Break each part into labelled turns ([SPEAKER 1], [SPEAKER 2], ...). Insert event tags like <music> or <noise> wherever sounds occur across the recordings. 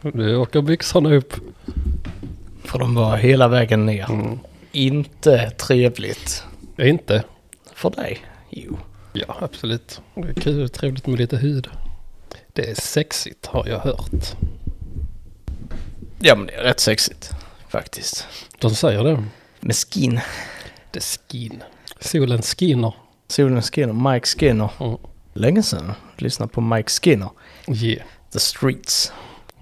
[SPEAKER 1] Nu åker byxorna upp.
[SPEAKER 2] För de var hela vägen ner.
[SPEAKER 1] Mm.
[SPEAKER 2] Inte trevligt.
[SPEAKER 1] Inte.
[SPEAKER 2] För dig? Jo.
[SPEAKER 1] Ja, absolut. Det är kul och trevligt med lite hud. Det är sexigt har jag hört.
[SPEAKER 2] Ja men det är rätt sexigt. Faktiskt.
[SPEAKER 1] De säger det.
[SPEAKER 2] Med skin.
[SPEAKER 1] Det är skin. Solen skiner.
[SPEAKER 2] Solen Skinner, Mike Skinner.
[SPEAKER 1] Mm.
[SPEAKER 2] Länge sedan lyssna på Mike Skinner.
[SPEAKER 1] Yeah.
[SPEAKER 2] The Streets.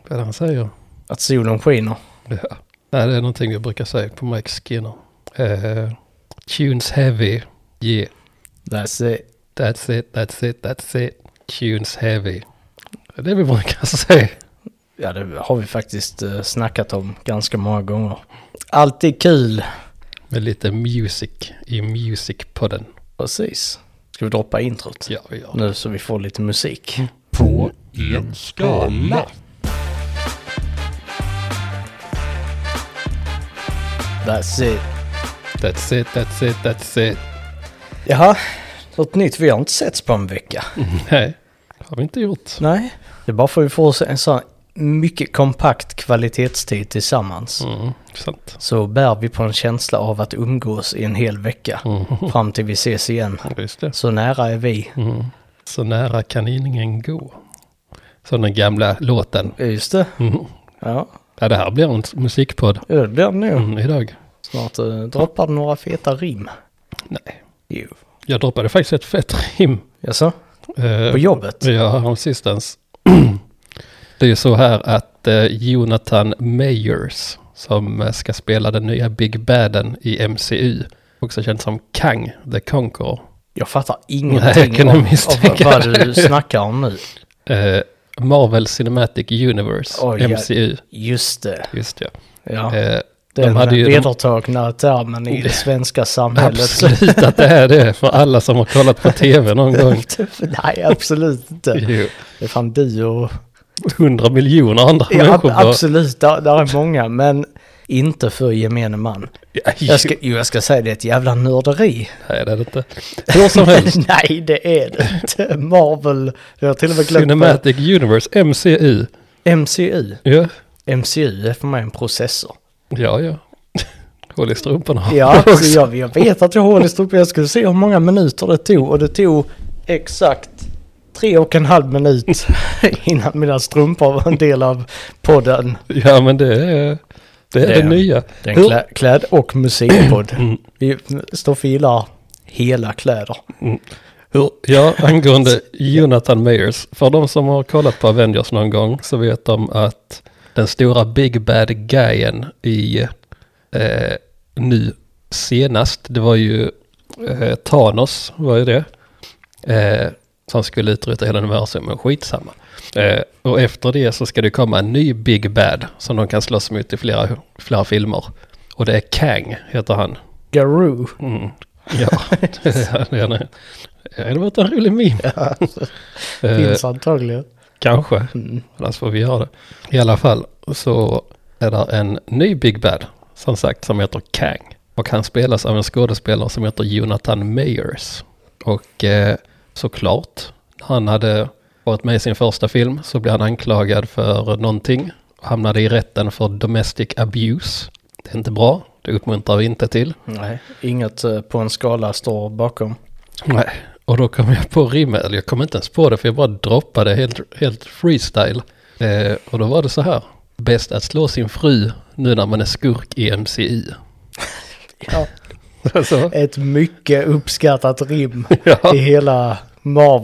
[SPEAKER 1] Vad är det han säger?
[SPEAKER 2] Att solen skiner.
[SPEAKER 1] Ja. Nej, det är någonting jag brukar säga på Mike Skinner. Eh, tunes heavy. Yeah.
[SPEAKER 2] That's it.
[SPEAKER 1] That's it, that's it, that's it. Tunes heavy. Det är det vi brukar <laughs> säga.
[SPEAKER 2] Ja, det har vi faktiskt eh, snackat om ganska många gånger. Alltid kul.
[SPEAKER 1] Med lite music i musicpodden.
[SPEAKER 2] Precis. Ska vi droppa introt?
[SPEAKER 1] Ja, vi gör det.
[SPEAKER 2] Nu så vi får lite musik.
[SPEAKER 3] På en skala.
[SPEAKER 2] That's it.
[SPEAKER 1] That's it, that's it, that's it.
[SPEAKER 2] Jaha, något nytt. Vi har inte setts på en vecka.
[SPEAKER 1] Nej, det Mm. har vi inte gjort.
[SPEAKER 2] Nej. Det är bara för att vi får oss en sån mycket kompakt kvalitetstid tillsammans.
[SPEAKER 1] Mm, sant.
[SPEAKER 2] Så bär vi på en känsla av att umgås i en hel vecka.
[SPEAKER 1] Mm.
[SPEAKER 2] Fram till vi ses igen.
[SPEAKER 1] Just det.
[SPEAKER 2] Så nära är vi.
[SPEAKER 1] Mm. Så nära kan ingen gå. Som den gamla låten.
[SPEAKER 2] Ja, Just det.
[SPEAKER 1] Mm.
[SPEAKER 2] Ja,
[SPEAKER 1] Ja, det här blir en musikpodd
[SPEAKER 2] ja, det blir det nog.
[SPEAKER 1] mm, idag.
[SPEAKER 2] Snart eh, droppar det några feta rim.
[SPEAKER 1] Nej.
[SPEAKER 2] Jo.
[SPEAKER 1] Jag droppade faktiskt ett fett rim.
[SPEAKER 2] Jaså?
[SPEAKER 1] eh,
[SPEAKER 2] På jobbet?
[SPEAKER 1] Ja, häromsistens. <clears throat> Det är ju så här att eh, Jonathan Mayers, som eh, ska spela den nya Big Baden i MCU, också känd som Kang the Conqueror,
[SPEAKER 2] Jag fattar
[SPEAKER 1] Nej, jag
[SPEAKER 2] ingenting
[SPEAKER 1] kunde
[SPEAKER 2] av, av
[SPEAKER 1] misstänka
[SPEAKER 2] vad du snackar om nu.
[SPEAKER 1] eh, Marvel Cinematic Universe,
[SPEAKER 2] Oj, ja.
[SPEAKER 1] MCU.
[SPEAKER 2] Just det.
[SPEAKER 1] Just ja.
[SPEAKER 2] Ja.
[SPEAKER 1] Eh,
[SPEAKER 2] den
[SPEAKER 1] de hade ju... De,
[SPEAKER 2] vedertagna termen i det svenska samhället.
[SPEAKER 1] absolut att det är det, för alla som har kollat på tv
[SPEAKER 2] <laughs>
[SPEAKER 1] någon gång.
[SPEAKER 2] Nej, absolut inte.
[SPEAKER 1] Jo,
[SPEAKER 2] Det är fan du och...
[SPEAKER 1] hundra miljoner andra
[SPEAKER 2] Ja, ab-
[SPEAKER 1] människor bara...
[SPEAKER 2] absolut, där, där är många, men inte för gemene man.
[SPEAKER 1] Ja, jo,
[SPEAKER 2] Jag ska, jo, jag ska säga det är ett jävla nörderi.
[SPEAKER 1] Nej, det är det inte. Hur
[SPEAKER 2] <laughs>
[SPEAKER 1] som helst,
[SPEAKER 2] Nej, det är det inte. Marvel, jag har till och med glömt vad-
[SPEAKER 1] Cinematic Universe, MCU.
[SPEAKER 2] MCU.
[SPEAKER 1] Ja,
[SPEAKER 2] MCU är för mig en processor.
[SPEAKER 1] ja. ja. Håll i strumporna.
[SPEAKER 2] <laughs> Ja, så jag, jag vet att jag håller i strupen. Jag skulle se hur många minuter det tog och det tog exakt tre och en halv <laughs> minut innan mina strumpor var en del av podden.
[SPEAKER 1] <laughs> ja men det är det, är
[SPEAKER 2] Det
[SPEAKER 1] det,
[SPEAKER 2] är-
[SPEAKER 1] nya.
[SPEAKER 2] Det är en
[SPEAKER 1] Hur-
[SPEAKER 2] klä, kläd och musikpodd. <clears throat> Vi står för gillar hela kläder.
[SPEAKER 1] Hur, ja, angående Jonathan Mayers. För de som har kollat på Avengers någon gång så vet de att den stora Big Bad Guyen i eh, nu senast, det var ju eh, Thanos, var ju det. Eh, som skulle utrota hela universum, men skitsamma. Eh, och efter det så ska det komma en ny Big Bad som de kan slåss mot i flera, flera filmer. Och det är Kang, heter han.
[SPEAKER 2] Garou.
[SPEAKER 1] Mm. <laughs> Ja, det är det. är- Det hade varit en rolig meme. eh,
[SPEAKER 2] Finns antagligen.
[SPEAKER 1] kanske,
[SPEAKER 2] Mm.
[SPEAKER 1] annars får vi göra det. I alla fall så är det en ny Big Bad, som sagt, som heter Kang. Och han spelas av en skådespelare som heter Jonathan Mayers. Och eh, såklart, när han hade varit med i sin första film så blev han anklagad för någonting. Och hamnade i rätten för domestic abuse. Det är inte bra, det uppmuntrar vi inte till.
[SPEAKER 2] Nej, inget eh, på en skala står bakom.
[SPEAKER 1] Nej, och då kom jag på rimmet, eller jag kom inte ens på det för jag bara droppade helt, helt freestyle. Eh, och då var det så här, bäst att slå sin fru nu när man är skurk i MCI.
[SPEAKER 2] Ja,
[SPEAKER 1] Alltså,
[SPEAKER 2] ett mycket uppskattat <laughs> rim
[SPEAKER 1] ja,
[SPEAKER 2] i hela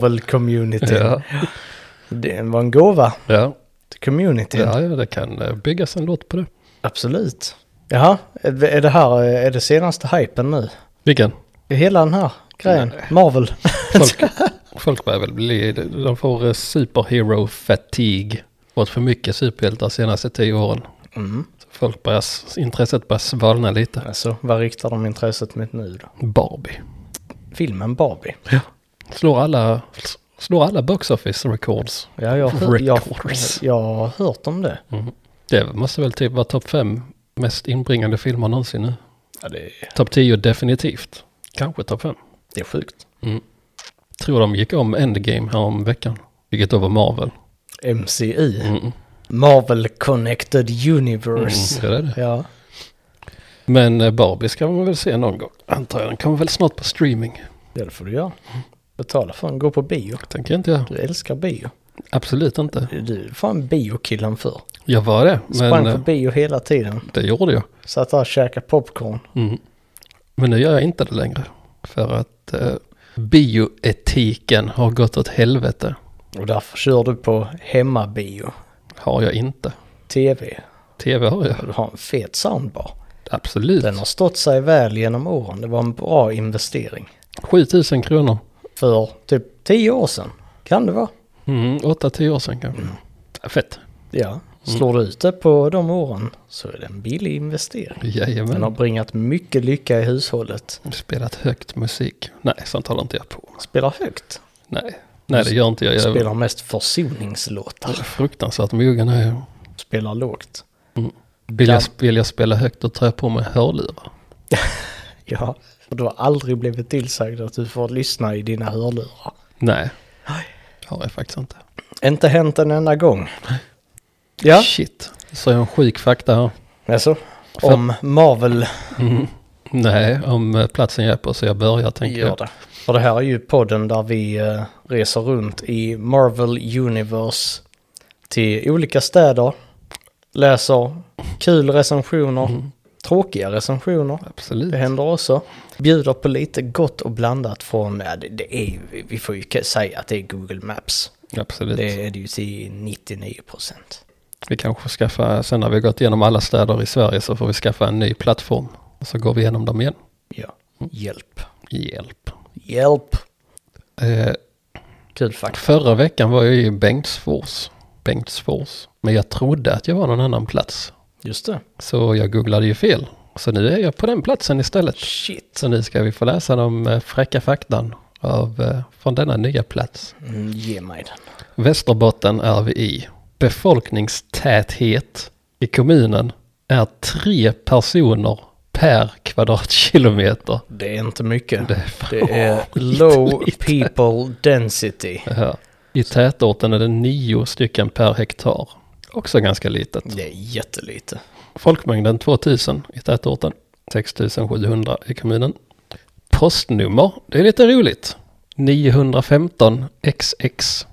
[SPEAKER 2] Marvel-communityn.
[SPEAKER 1] ja,
[SPEAKER 2] Det var en gåva
[SPEAKER 1] ja,
[SPEAKER 2] till communityn.
[SPEAKER 1] ja, ja, det kan eh, byggas en låt på det.
[SPEAKER 2] Absolut. Jaha, är är det här är det senaste hypen nu?
[SPEAKER 1] Vilken?
[SPEAKER 2] Hela den här grejen, Marvel.
[SPEAKER 1] Folk, folk börjar väl bli, de får eh, superhero fatigue. Fått för mycket superhjältar de senaste tio åren.
[SPEAKER 2] Mm.
[SPEAKER 1] Så folk börjar, s- intresset börjar svalna lite.
[SPEAKER 2] Alltså, vad riktar de intresset mot nu då?
[SPEAKER 1] Barbie.
[SPEAKER 2] Filmen Barbie.
[SPEAKER 1] Slår alla, slår alla box office records.
[SPEAKER 2] Ja, jag, har hört- jag,
[SPEAKER 1] Records.
[SPEAKER 2] jag har hört om det.
[SPEAKER 1] Mm. Det måste väl typ vara topp fem mest inbringande filmer någonsin nu.
[SPEAKER 2] Ja, det, är,
[SPEAKER 1] Topp 10 definitivt. Kanske topp fem.
[SPEAKER 2] det är sjukt.
[SPEAKER 1] Tror de gick om Endgame här om veckan. Vilket då var Marvel.
[SPEAKER 2] MCI.
[SPEAKER 1] Mm.
[SPEAKER 2] Marvel Connected Universe.
[SPEAKER 1] Mm, det är det.
[SPEAKER 2] Ja.
[SPEAKER 1] Men eh, Barbie ska man väl se någon gång, antar jag. Den kommer väl snart på streaming.
[SPEAKER 2] ja, det får du göra. Betala för en, gå på bio.
[SPEAKER 1] Tänker inte jag.
[SPEAKER 2] Du älskar bio.
[SPEAKER 1] Absolut inte.
[SPEAKER 2] Du är fan biokillen för.
[SPEAKER 1] Jag var det, men
[SPEAKER 2] Sprang
[SPEAKER 1] eh,
[SPEAKER 2] på bio hela tiden.
[SPEAKER 1] det gjorde jag.
[SPEAKER 2] Satt där och käkade popcorn.
[SPEAKER 1] Mm. Men nu gör jag inte det längre. För att eh, bioetiken har gått åt helvete.
[SPEAKER 2] Och därför kör du på hemmabio.
[SPEAKER 1] Har jag inte.
[SPEAKER 2] Tv.
[SPEAKER 1] Tv har jag.
[SPEAKER 2] Du har en fet soundbar.
[SPEAKER 1] Absolut.
[SPEAKER 2] Den har stått sig väl genom åren. Det var en bra investering.
[SPEAKER 1] 7000 kronor.
[SPEAKER 2] För typ 10 år sedan. Kan det vara.
[SPEAKER 1] Mm, 8-10 år sedan kanske.
[SPEAKER 2] Mm.
[SPEAKER 1] Fett.
[SPEAKER 2] Ja. Slår du ut det på de åren så är det en billig investering. Den har
[SPEAKER 1] Jajamän.
[SPEAKER 2] bringat mycket lycka i hushållet.
[SPEAKER 1] Spelat högt musik. Nej, sånt håller inte jag på med.
[SPEAKER 2] Spelar högt.
[SPEAKER 1] Nej. Nej, det gör inte jag. Jag är
[SPEAKER 2] Spelar mest försoningslåtar.
[SPEAKER 1] fruktansvärt mogen. är jag.
[SPEAKER 2] Spelar lågt.
[SPEAKER 1] Vill jag,
[SPEAKER 2] Kan-
[SPEAKER 1] vill jag spela högt då tar jag på mig hörlurar.
[SPEAKER 2] Ja. Och du har aldrig blivit tillsagd att du får lyssna i dina hörlurar.
[SPEAKER 1] Nej,
[SPEAKER 2] Nej.
[SPEAKER 1] har jag faktiskt inte.
[SPEAKER 2] Inte hänt en enda gång. Ja.
[SPEAKER 1] Shit, så är jag en sjuk fakta här.
[SPEAKER 2] Alltså, om Marvel Mm.
[SPEAKER 1] Nej, om eh, platsen jag är på så jag börjar tänker
[SPEAKER 2] gör
[SPEAKER 1] jag.
[SPEAKER 2] det. För det här är ju podden där vi eh, reser runt i Marvel Universe till olika städer, läser kul recensioner,
[SPEAKER 1] Mm.
[SPEAKER 2] tråkiga recensioner.
[SPEAKER 1] Absolut.
[SPEAKER 2] Det händer också. Bjuder på lite gott och blandat från, ja, det, det är, ju- vi får ju k- säga att det är Google Maps.
[SPEAKER 1] Absolut.
[SPEAKER 2] Det är det ju till 99 procent.
[SPEAKER 1] Vi kanske skaffar, sen när vi har gått igenom alla städer i Sverige så får vi skaffa en ny plattform. Och så går vi igenom dem igen.
[SPEAKER 2] Ja,
[SPEAKER 1] Mm.
[SPEAKER 2] hjälp.
[SPEAKER 1] Hjälp.
[SPEAKER 2] Hjälp!
[SPEAKER 1] Eh,
[SPEAKER 2] Kul faktiskt.
[SPEAKER 1] förra veckan var jag i Bengtsfors. Bengtsfors. Men jag trodde att jag var någon annan plats.
[SPEAKER 2] Just det.
[SPEAKER 1] Så jag googlade ju fel. Så nu är jag på den platsen istället.
[SPEAKER 2] Shit.
[SPEAKER 1] Så nu ska vi få läsa de eh, fräcka faktan av, eh, från denna nya plats.
[SPEAKER 2] Mm, ge mig den.
[SPEAKER 1] Västerbotten är vi i. Befolkningstäthet i kommunen är tre personer per kvadratkilometer.
[SPEAKER 2] Det är inte mycket.
[SPEAKER 1] Det är fan
[SPEAKER 2] Det är
[SPEAKER 1] <laughs> skitlite.
[SPEAKER 2] low people density.
[SPEAKER 1] Ja. I tätorten är det nio stycken per hektar. Också ganska litet.
[SPEAKER 2] Det är jättelite.
[SPEAKER 1] Folkmängden 2000 i tätorten. 6700 i kommunen. Postnummer, det är lite roligt. 915 XX.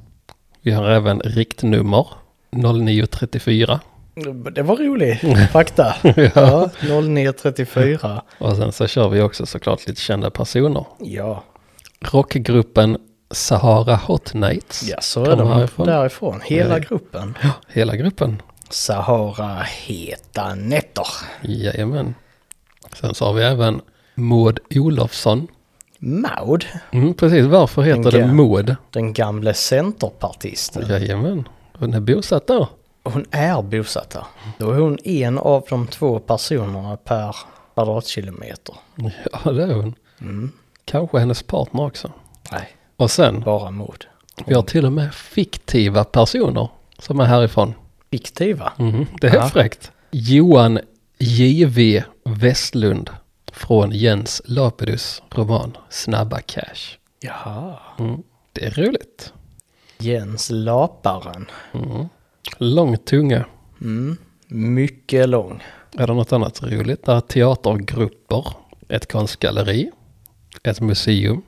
[SPEAKER 1] Vi har även riktnummer 0934.
[SPEAKER 2] Det var rolig
[SPEAKER 1] <laughs>
[SPEAKER 2] fakta. ja. 0934.
[SPEAKER 1] Och sen så kör vi också såklart lite kända personer.
[SPEAKER 2] Ja,
[SPEAKER 1] Rockgruppen Sahara Hot Nights.
[SPEAKER 2] ja så är
[SPEAKER 1] Kommer
[SPEAKER 2] de
[SPEAKER 1] härifrån.
[SPEAKER 2] därifrån. Hela
[SPEAKER 1] Ja.
[SPEAKER 2] gruppen.
[SPEAKER 1] Hela gruppen.
[SPEAKER 2] Sahara heta nätter.
[SPEAKER 1] Jajamän. Sen så har vi även Maud Olofsson.
[SPEAKER 2] Maud,
[SPEAKER 1] Mm, precis, varför heter
[SPEAKER 2] Tänker
[SPEAKER 1] det
[SPEAKER 2] jag.
[SPEAKER 1] Maud?
[SPEAKER 2] den gamle centerpartisten.
[SPEAKER 1] Jajamän. Hon är bosatt där.
[SPEAKER 2] Hon är bosatt där. Då är hon en av de två personerna per kvadratkilometer.
[SPEAKER 1] Ja, det är hon.
[SPEAKER 2] Mm.
[SPEAKER 1] Kanske hennes partner också.
[SPEAKER 2] Nej,
[SPEAKER 1] Och sen,
[SPEAKER 2] bara mod.
[SPEAKER 1] vi har till och med fiktiva personer som är härifrån.
[SPEAKER 2] Fiktiva.
[SPEAKER 1] Mm, det är
[SPEAKER 2] Ja.
[SPEAKER 1] fräckt. Johan J.V. Westlund från Jens Lapidus roman Snabba Cash.
[SPEAKER 2] Jaha.
[SPEAKER 1] Mm. Det är roligt. Mm.
[SPEAKER 2] Jens Laparen.
[SPEAKER 1] Lång tunga.
[SPEAKER 2] Mm. Mycket lång.
[SPEAKER 1] Är det något annat roligt? Där är teatergrupper, ett konstgalleri, ett museum.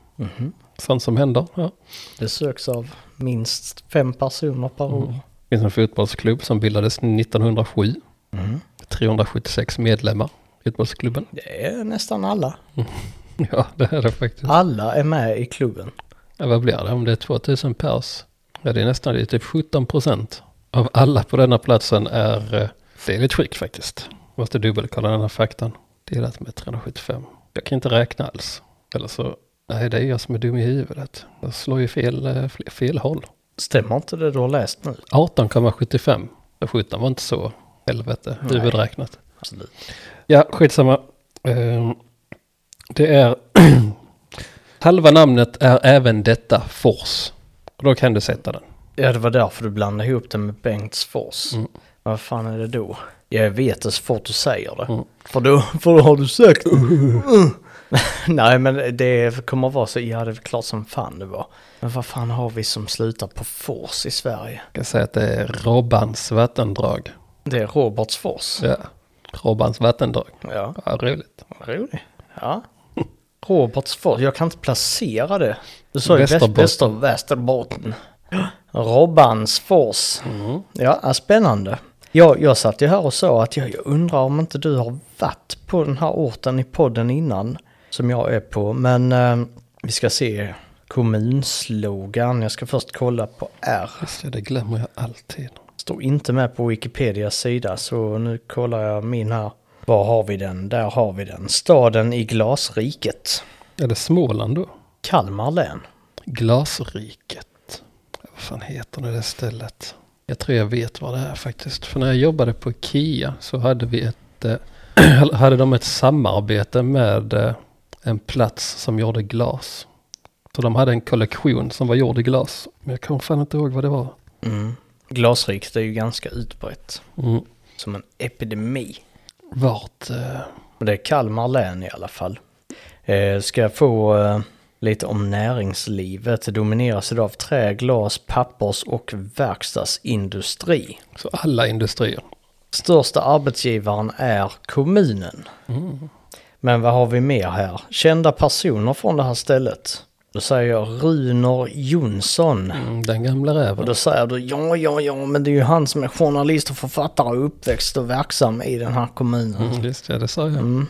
[SPEAKER 1] Sånt som händer. Ja.
[SPEAKER 2] Besöks av minst fem personer per år.
[SPEAKER 1] Det finns en fotbollsklubb som bildades 1907. 376 medlemmar i fotbollsklubben. <laughs>
[SPEAKER 2] Det är nästan alla.
[SPEAKER 1] Ja, det är det faktiskt.
[SPEAKER 2] Alla är med i klubben.
[SPEAKER 1] Ja, vad blir det om det är 2000 pers? Ja, det är nästan det är typ 17 procent av alla på denna platsen är... eh, Det är lite sjukt faktiskt. Måste dubbelkolla den här faktan. Delat med 375. Jag kan inte räkna alls. Eller så... Nej, det är jag som är dum i huvudet. Jag slår ju fel, eh, fel, fel håll.
[SPEAKER 2] Stämmer inte det du har läst nu?
[SPEAKER 1] 18,75. Men 17 var inte så helvete huvudräknat.
[SPEAKER 2] Absolut.
[SPEAKER 1] Ja, skitsamma. Ehm, Det är... <clears throat> Halva namnet är även detta Fors. Och då kan du sätta den.
[SPEAKER 2] Ja, det var därför du blandade ihop det med Bengtsfors. Vad fan är det <laughs> då? Jag vet det så fort du säger det. För, då, för då har du sökt. <laughs> Nej, men det kommer att vara så, ja det är klart som fan det var. Men vad fan har vi som slutar på Fors i Sverige?
[SPEAKER 1] Jag kan säga att det är Robbans vattendrag.
[SPEAKER 2] Det är Robertsfors.
[SPEAKER 1] Ja, Robbans vattendrag.
[SPEAKER 2] Ja,
[SPEAKER 1] Ja, roligt.
[SPEAKER 2] vad rolig. <laughs> Ja. Robertsfors, jag kan inte placera det. Du sa ju väst-
[SPEAKER 1] Västerbotten.
[SPEAKER 2] väster, Västerbotten. Robbansfors. Ja, är spännande. Jag, jag satt ju här och sa att jag, jag undrar om inte du har varit på den här orten i podden innan. Som jag är på, men eh, vi ska se kommunslogan. Jag ska först kolla på R.
[SPEAKER 1] Just det, det glömmer jag alltid.
[SPEAKER 2] Står inte med på Wikipedias sida så nu kollar jag min här. Var har vi den? Där har vi den. Staden i glasriket.
[SPEAKER 1] Är det Småland då?
[SPEAKER 2] Kalmar län.
[SPEAKER 1] Glasriket. Vad fan heter det där stället? Jag tror jag vet vad det är faktiskt. För när jag jobbade på Ikea så hade vi ett... eh, <clears throat> hade de ett samarbete med eh, en plats som gjorde glas. Så de hade en kollektion som var gjord i glas. Men jag kommer fan inte ihåg vad det var.
[SPEAKER 2] Mm. Glasriket är ju ganska utbrett.
[SPEAKER 1] Mm.
[SPEAKER 2] Som en epidemi.
[SPEAKER 1] Vart... Eh,
[SPEAKER 2] Men det är Kalmar län i alla fall. Eh, ska jag få eh, lite om näringslivet. Det domineras idag av trä, glas, pappers och verkstadsindustri.
[SPEAKER 1] så alla industrier.
[SPEAKER 2] Största arbetsgivaren är kommunen.
[SPEAKER 1] Mm,
[SPEAKER 2] Men vad har vi mer här? Kända personer från det här stället. Då säger jag Runar Jonsson.
[SPEAKER 1] Mm, den gamla
[SPEAKER 2] Och
[SPEAKER 1] räven.
[SPEAKER 2] då säger du ja, ja, ja, men det är ju han som är journalist och författare och uppväxt och verksam i den här kommunen.
[SPEAKER 1] Mm, just det, det sa jag.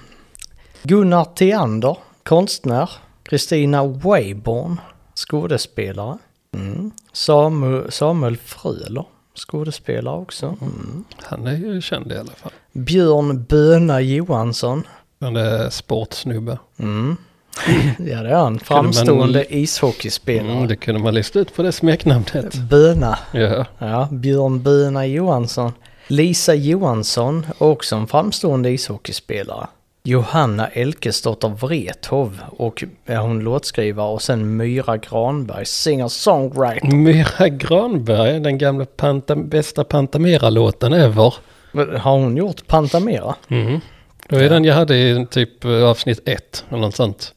[SPEAKER 2] Gunnar Theander, konstnär. Kristina Wayborn, skådespelare. Mm. Samu, Samuel Fröler, skådespelare också. Mm.
[SPEAKER 1] Han är ju känd i alla fall.
[SPEAKER 2] Björn Böna Johansson.
[SPEAKER 1] Han är sportsnubbe.
[SPEAKER 2] Mm. <laughs> ja, det är han. Framstående ishockeyspelare.
[SPEAKER 1] Mm, det kunde man lista ut på det smeknamnet.
[SPEAKER 2] Böna.
[SPEAKER 1] Ja.
[SPEAKER 2] Ja, Björn Böna Johansson. Lisa Johansson, också en framstående ishockeyspelare. Johanna Elkesdotter Wrethov och är hon låtskrivare och sen Myra Granberg, singer-songwriter.
[SPEAKER 1] Myra Granberg, den gamla panta, bästa Pantamera-låten ever.
[SPEAKER 2] Men Har hon gjort Pantamera?
[SPEAKER 1] Mm. Det var ju den jag hade i typ eh, avsnitt ett eller något sånt.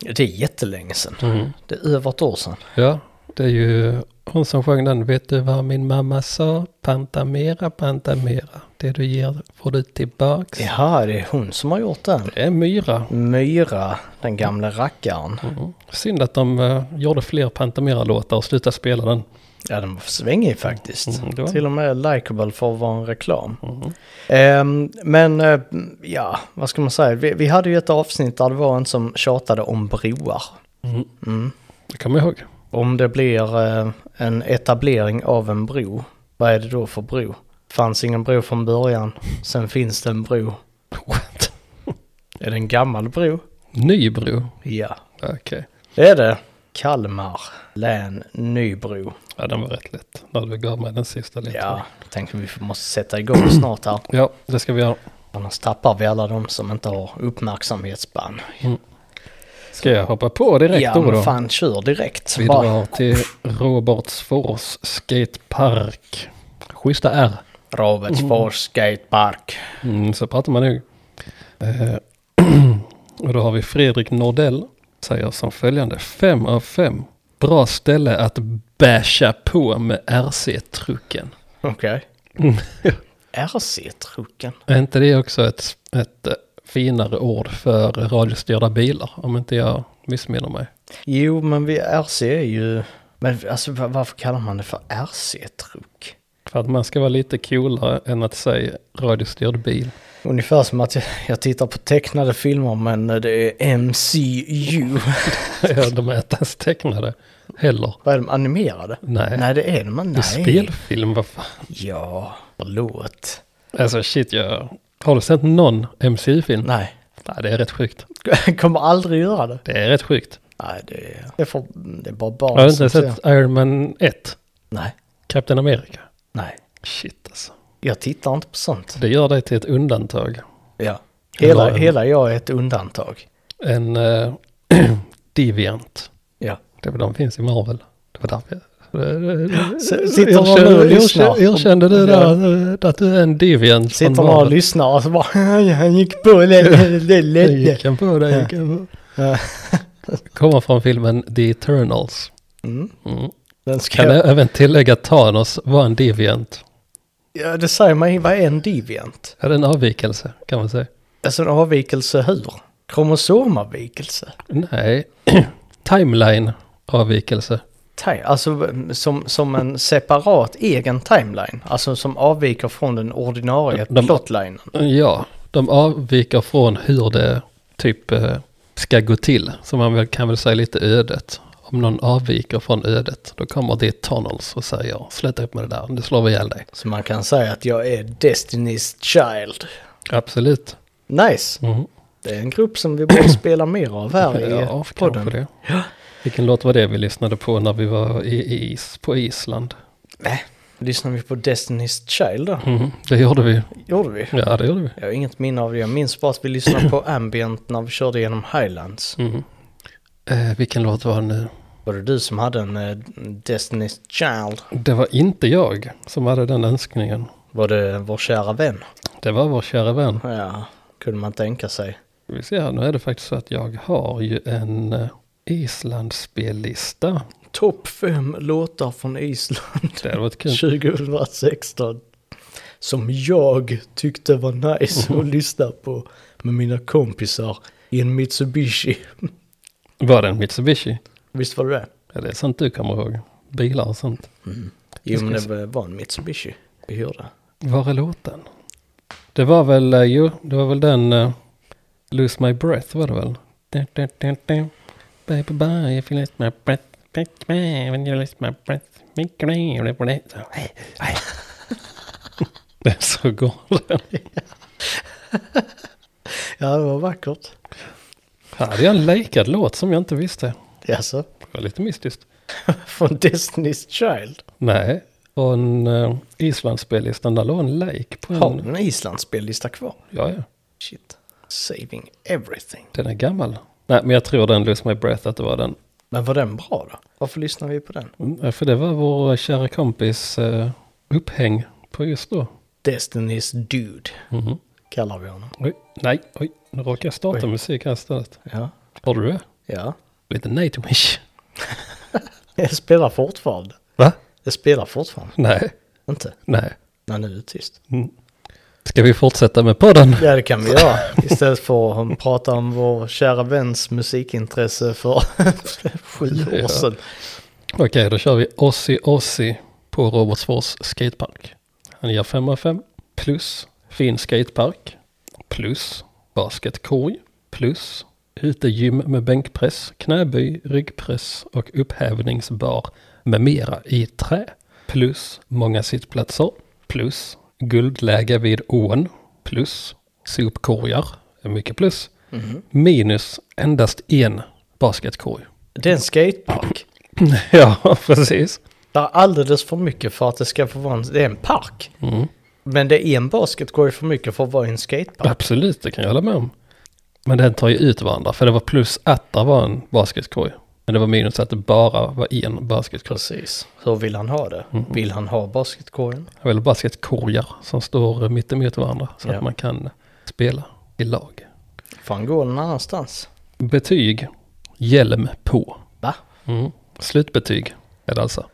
[SPEAKER 2] Det är jättelänge sedan.
[SPEAKER 1] Mm.
[SPEAKER 2] Det är över ett år sedan.
[SPEAKER 1] Ja, det är ju hon som sjöng den. Vet du vad min mamma sa? Pantamera, Pantamera. Det du ger får du tillbaks.
[SPEAKER 2] Jaha, det är hon som har gjort den.
[SPEAKER 1] Det är Myra.
[SPEAKER 2] Myra, den gamla rackaren.
[SPEAKER 1] Mm. Synd att de eh, gjorde fler Pantamera-låtar och slutade spela den.
[SPEAKER 2] Ja, den var svängig faktiskt.
[SPEAKER 1] Mm, det var den.
[SPEAKER 2] Mm, Till och med likable för att vara en reklam. Ehm, men, eh, ja, vad ska man säga? Vi, vi hade ju ett avsnitt där det var en som tjatade om broar.
[SPEAKER 1] Mm.
[SPEAKER 2] Mm.
[SPEAKER 1] Det kommer jag ihåg.
[SPEAKER 2] Om det blir eh, en etablering av en bro, vad är det då för bro? Fanns ingen bro från början, sen finns det en bro.
[SPEAKER 1] What?
[SPEAKER 2] Är det en gammal bro?
[SPEAKER 1] Nybro.
[SPEAKER 2] Ja,
[SPEAKER 1] Okej.
[SPEAKER 2] det är det. Kalmar län, Nybro.
[SPEAKER 1] Ja, den var rätt lätt. När du gav mig den sista lite.
[SPEAKER 2] Ja, tänkte vi måste sätta igång snart här.
[SPEAKER 1] ja, det ska vi göra.
[SPEAKER 2] Annars tappar vi alla de som inte har uppmärksamhetsspann.
[SPEAKER 1] Ska jag hoppa på direkt
[SPEAKER 2] ja,
[SPEAKER 1] då?
[SPEAKER 2] men
[SPEAKER 1] då?
[SPEAKER 2] fan kör direkt.
[SPEAKER 1] Vi
[SPEAKER 2] Bara
[SPEAKER 1] drar till Robertsfors skatepark. Schyssta R.
[SPEAKER 2] Robertsfors skatepark.
[SPEAKER 1] Mm, så pratar man nog. Eh, <clears throat> och då har vi Fredrik Nordell. Säger som följande. Fem av fem. Bra ställe att basha på med RC-trucken.
[SPEAKER 2] Okej. <laughs>
[SPEAKER 1] Mm.
[SPEAKER 2] RC-trucken.
[SPEAKER 1] Är inte det också ett, ett eh, finare ord för radiostyrda bilar? Om inte jag missminner mig.
[SPEAKER 2] Jo, men vi RC är ju... Men alltså va- varför kallar man det för RC-truck?
[SPEAKER 1] För att man ska vara lite coolare än att säga radiostyrd bil. <laughs>
[SPEAKER 2] Ungefär som att jag, jag tittar på tecknade filmer men det är MCU.
[SPEAKER 1] Ja, de är inte ens tecknade heller.
[SPEAKER 2] <laughs> Vad är de animerade?
[SPEAKER 1] Nej.
[SPEAKER 2] Nej, det är de
[SPEAKER 1] Det är
[SPEAKER 2] inte.
[SPEAKER 1] spelfilm, vad fan.
[SPEAKER 2] Ja, förlåt.
[SPEAKER 1] Alltså shit, jag... Har du sett någon MCU-film?
[SPEAKER 2] Nej, <laughs>
[SPEAKER 1] Nej, det är rätt sjukt.
[SPEAKER 2] jag kommer aldrig göra det.
[SPEAKER 1] Det är rätt sjukt.
[SPEAKER 2] Nej, det är, det är, för, det är bara barn
[SPEAKER 1] Har du
[SPEAKER 2] som
[SPEAKER 1] inte
[SPEAKER 2] ser.
[SPEAKER 1] sett Iron Man 1?
[SPEAKER 2] Nej,
[SPEAKER 1] Captain America?
[SPEAKER 2] nej.
[SPEAKER 1] Shit alltså.
[SPEAKER 2] Jag tittar inte på sånt.
[SPEAKER 1] Det gör dig till ett undantag.
[SPEAKER 2] Ja. Hela,
[SPEAKER 1] Eller en-
[SPEAKER 2] hela jag är ett undantag.
[SPEAKER 1] En eh, <clears throat> deviant.
[SPEAKER 2] Ja.
[SPEAKER 1] Det är väl de finns i Marvel. Det var därför jag Eh,
[SPEAKER 2] S- Sitter någon nu och lyssnar?
[SPEAKER 1] Erkände du
[SPEAKER 2] Ja.
[SPEAKER 1] där eh, att du är en deviant?
[SPEAKER 2] Sitter
[SPEAKER 1] från
[SPEAKER 2] någon och
[SPEAKER 1] valet?
[SPEAKER 2] lyssnar och så bara <laughs> han gick på det, det, det
[SPEAKER 1] Det
[SPEAKER 2] ledde.
[SPEAKER 1] gick han på, det gick han på. Kommer från filmen The Eternals.
[SPEAKER 2] Mm.
[SPEAKER 1] Mm.
[SPEAKER 2] Den ska
[SPEAKER 1] Kan jag även tillägga att Thanos var en deviant.
[SPEAKER 2] Ja, det säger mig, vad är en deviant?
[SPEAKER 1] Är det en avvikelse kan man säga?
[SPEAKER 2] Alltså en avvikelse hur? Kromosomavvikelse?
[SPEAKER 1] Nej, <clears throat> timeline-avvikelse.
[SPEAKER 2] Ti- Alltså som, som en separat egen timeline. Alltså som avviker från den ordinarie
[SPEAKER 1] De-
[SPEAKER 2] plotlinen.
[SPEAKER 1] Ja, de avviker från hur det typ eh, ska gå till. Så man väl, kan väl säga lite ödet. Om någon avviker från ödet, då kommer det tunnels och säger sluta upp med det där, nu slår vi ihjäl dig.
[SPEAKER 2] Så man kan säga att jag är Destiny's Child.
[SPEAKER 1] Absolut.
[SPEAKER 2] Nice!
[SPEAKER 1] Mhm.
[SPEAKER 2] Det är en grupp som vi borde spela mer av här <laughs> i
[SPEAKER 1] Ja,
[SPEAKER 2] eh,
[SPEAKER 1] kanske
[SPEAKER 2] podden.
[SPEAKER 1] det. Vilken låt var det vi lyssnade på när vi var i, i, på Island?
[SPEAKER 2] Lyssnar vi på Destiny's Child då?
[SPEAKER 1] Mhm, Det gjorde vi.
[SPEAKER 2] Gjorde vi?
[SPEAKER 1] Ja, det gjorde vi.
[SPEAKER 2] Jag har inget minne av det. Jag minns bara att vi lyssnade på ambient när vi körde genom Highlands.
[SPEAKER 1] Mhm. Eh, vilken låt var det nu?
[SPEAKER 2] Var det du som hade en eh, Destiny's Child?
[SPEAKER 1] Det var inte jag som hade den önskningen.
[SPEAKER 2] Var det vår kära vän?
[SPEAKER 1] Det var vår kära vän.
[SPEAKER 2] Ja, kunde man tänka sig.
[SPEAKER 1] Vi ser här, nu är det faktiskt så att jag har ju en eh, Islandsspellista.
[SPEAKER 2] Topp fem låtar från Island
[SPEAKER 1] Det hade varit <laughs> kul.
[SPEAKER 2] 2016. Som jag tyckte var nice <laughs> att lyssna på med mina kompisar i en Mitsubishi.
[SPEAKER 1] Var det en Mitsubishi?
[SPEAKER 2] Visst var det det?
[SPEAKER 1] Ja, det är sånt du kommer ihåg. Bilar och sånt.
[SPEAKER 2] Jo, men det var en Mitsubishi vi hyrde.
[SPEAKER 1] Var är låten? Det var väl, eh, jo, det var väl den eh, Lose My Breath var det väl? Da, da, da, da. Bye bye bye if you lose my breath. Bye, bye, When you lose my breath. Make it rain, blah, blah, blah. <laughs> Hey, hey. Det är så galen.
[SPEAKER 2] Ja, det var vackert.
[SPEAKER 1] Här hade jag en läkad låt som jag inte visste.
[SPEAKER 2] Jaså?
[SPEAKER 1] Det var lite mystiskt.
[SPEAKER 2] Från Destiny's Child?
[SPEAKER 1] Nej, från uh, Islandsspellistan, där låg en lake på
[SPEAKER 2] Har du
[SPEAKER 1] en...
[SPEAKER 2] en Islandsspellista kvar?
[SPEAKER 1] Ja, ja.
[SPEAKER 2] Shit. Saving everything.
[SPEAKER 1] Den är gammal. Nej, men jag tror den Lose My Breath att det var den.
[SPEAKER 2] Men var den bra då? Varför lyssnar vi på den?
[SPEAKER 1] Mm, För det var vår kära kompis eh, upphäng på just då.
[SPEAKER 2] Destiny's Dude
[SPEAKER 1] Mhm.
[SPEAKER 2] kallar vi honom.
[SPEAKER 1] Oj, nej, oj, nu råkar jag starta musik här istället.
[SPEAKER 2] Ja.
[SPEAKER 1] Har du det?
[SPEAKER 2] Ja.
[SPEAKER 1] Lite Nightwish.
[SPEAKER 2] Det spelar fortfarande.
[SPEAKER 1] Va?
[SPEAKER 2] Det spelar fortfarande.
[SPEAKER 1] Nej,
[SPEAKER 2] Inte?
[SPEAKER 1] nej.
[SPEAKER 2] Nej, nu är det tyst.
[SPEAKER 1] Ska vi fortsätta med <laughs> podden?
[SPEAKER 2] Ja, det kan vi göra. Istället för att prata om vår kära väns musikintresse för <laughs> sju år
[SPEAKER 1] Ja.
[SPEAKER 2] sedan.
[SPEAKER 1] Okej, då kör vi Ossi Ossi på Robertsfors skatepark. Han ger 5 av 5 plus fin skatepark plus basketkorg plus utegym med bänkpress, knäböj, ryggpress och upphävningsbar med mera i trä plus många sittplatser plus guldläge vid ån plus sopkorgar, är mycket plus,
[SPEAKER 2] Mm.
[SPEAKER 1] minus endast en basketkorg.
[SPEAKER 2] Det är en skatepark.
[SPEAKER 1] <laughs> ja, precis.
[SPEAKER 2] Det är alldeles för mycket för att det ska få vara en... Det är en park.
[SPEAKER 1] Mm.
[SPEAKER 2] Men det är en basketkorg för mycket för att vara i en skatepark.
[SPEAKER 1] Absolut, det kan jag hålla med om. Men den tar ju ut varandra, för det var plus att det var en basketkorg. Men det var minus att det bara var en basketkorg.
[SPEAKER 2] Precis. Hur vill han ha det? Vill han ha basketkorgen?
[SPEAKER 1] Det var väl basketkorgar som står mitt emot varandra så
[SPEAKER 2] Ja.
[SPEAKER 1] att man kan spela i lag.
[SPEAKER 2] Får han gå någon annanstans?
[SPEAKER 1] Betyg, hjälm på.
[SPEAKER 2] Va?
[SPEAKER 1] Mm. Slutbetyg är det alltså.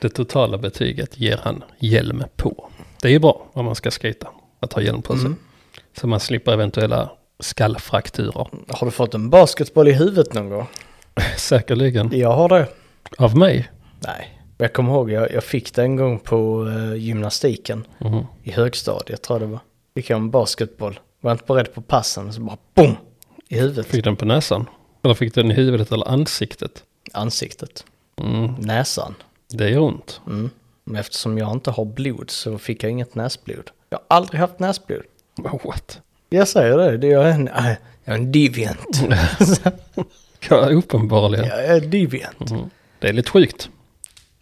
[SPEAKER 1] Det totala betyget ger han hjälm på. Det är ju bra om man ska skita att ha hjälm på sig. Så man slipper eventuella skallfrakturer.
[SPEAKER 2] Har du fått en basketboll i huvudet någon gång?
[SPEAKER 1] <laughs> Säkerligen.
[SPEAKER 2] Jag har det.
[SPEAKER 1] Av mig.
[SPEAKER 2] Nej. Jag kommer ihåg, jag, jag fick det en gång på eh, gymnastiken
[SPEAKER 1] Mhm.
[SPEAKER 2] i högstadiet tror jag det var. Fick jag en basketboll. Var inte beredd på passen så bara BOOM! I huvudet.
[SPEAKER 1] Fick den på näsan? Eller fick den i huvudet eller ansiktet?
[SPEAKER 2] Ansiktet.
[SPEAKER 1] Mm.
[SPEAKER 2] Näsan.
[SPEAKER 1] Det gör ont.
[SPEAKER 2] Mm. Men eftersom jag inte har blod så fick jag inget näsblod. Jag har aldrig haft näsblod.
[SPEAKER 1] What?
[SPEAKER 2] Jag säger det, det är jag en, äh, jag är
[SPEAKER 1] <laughs>
[SPEAKER 2] en deviant.
[SPEAKER 1] Ja, uppenbarligen.
[SPEAKER 2] jag är deviant.
[SPEAKER 1] Mm. Det är lite sjukt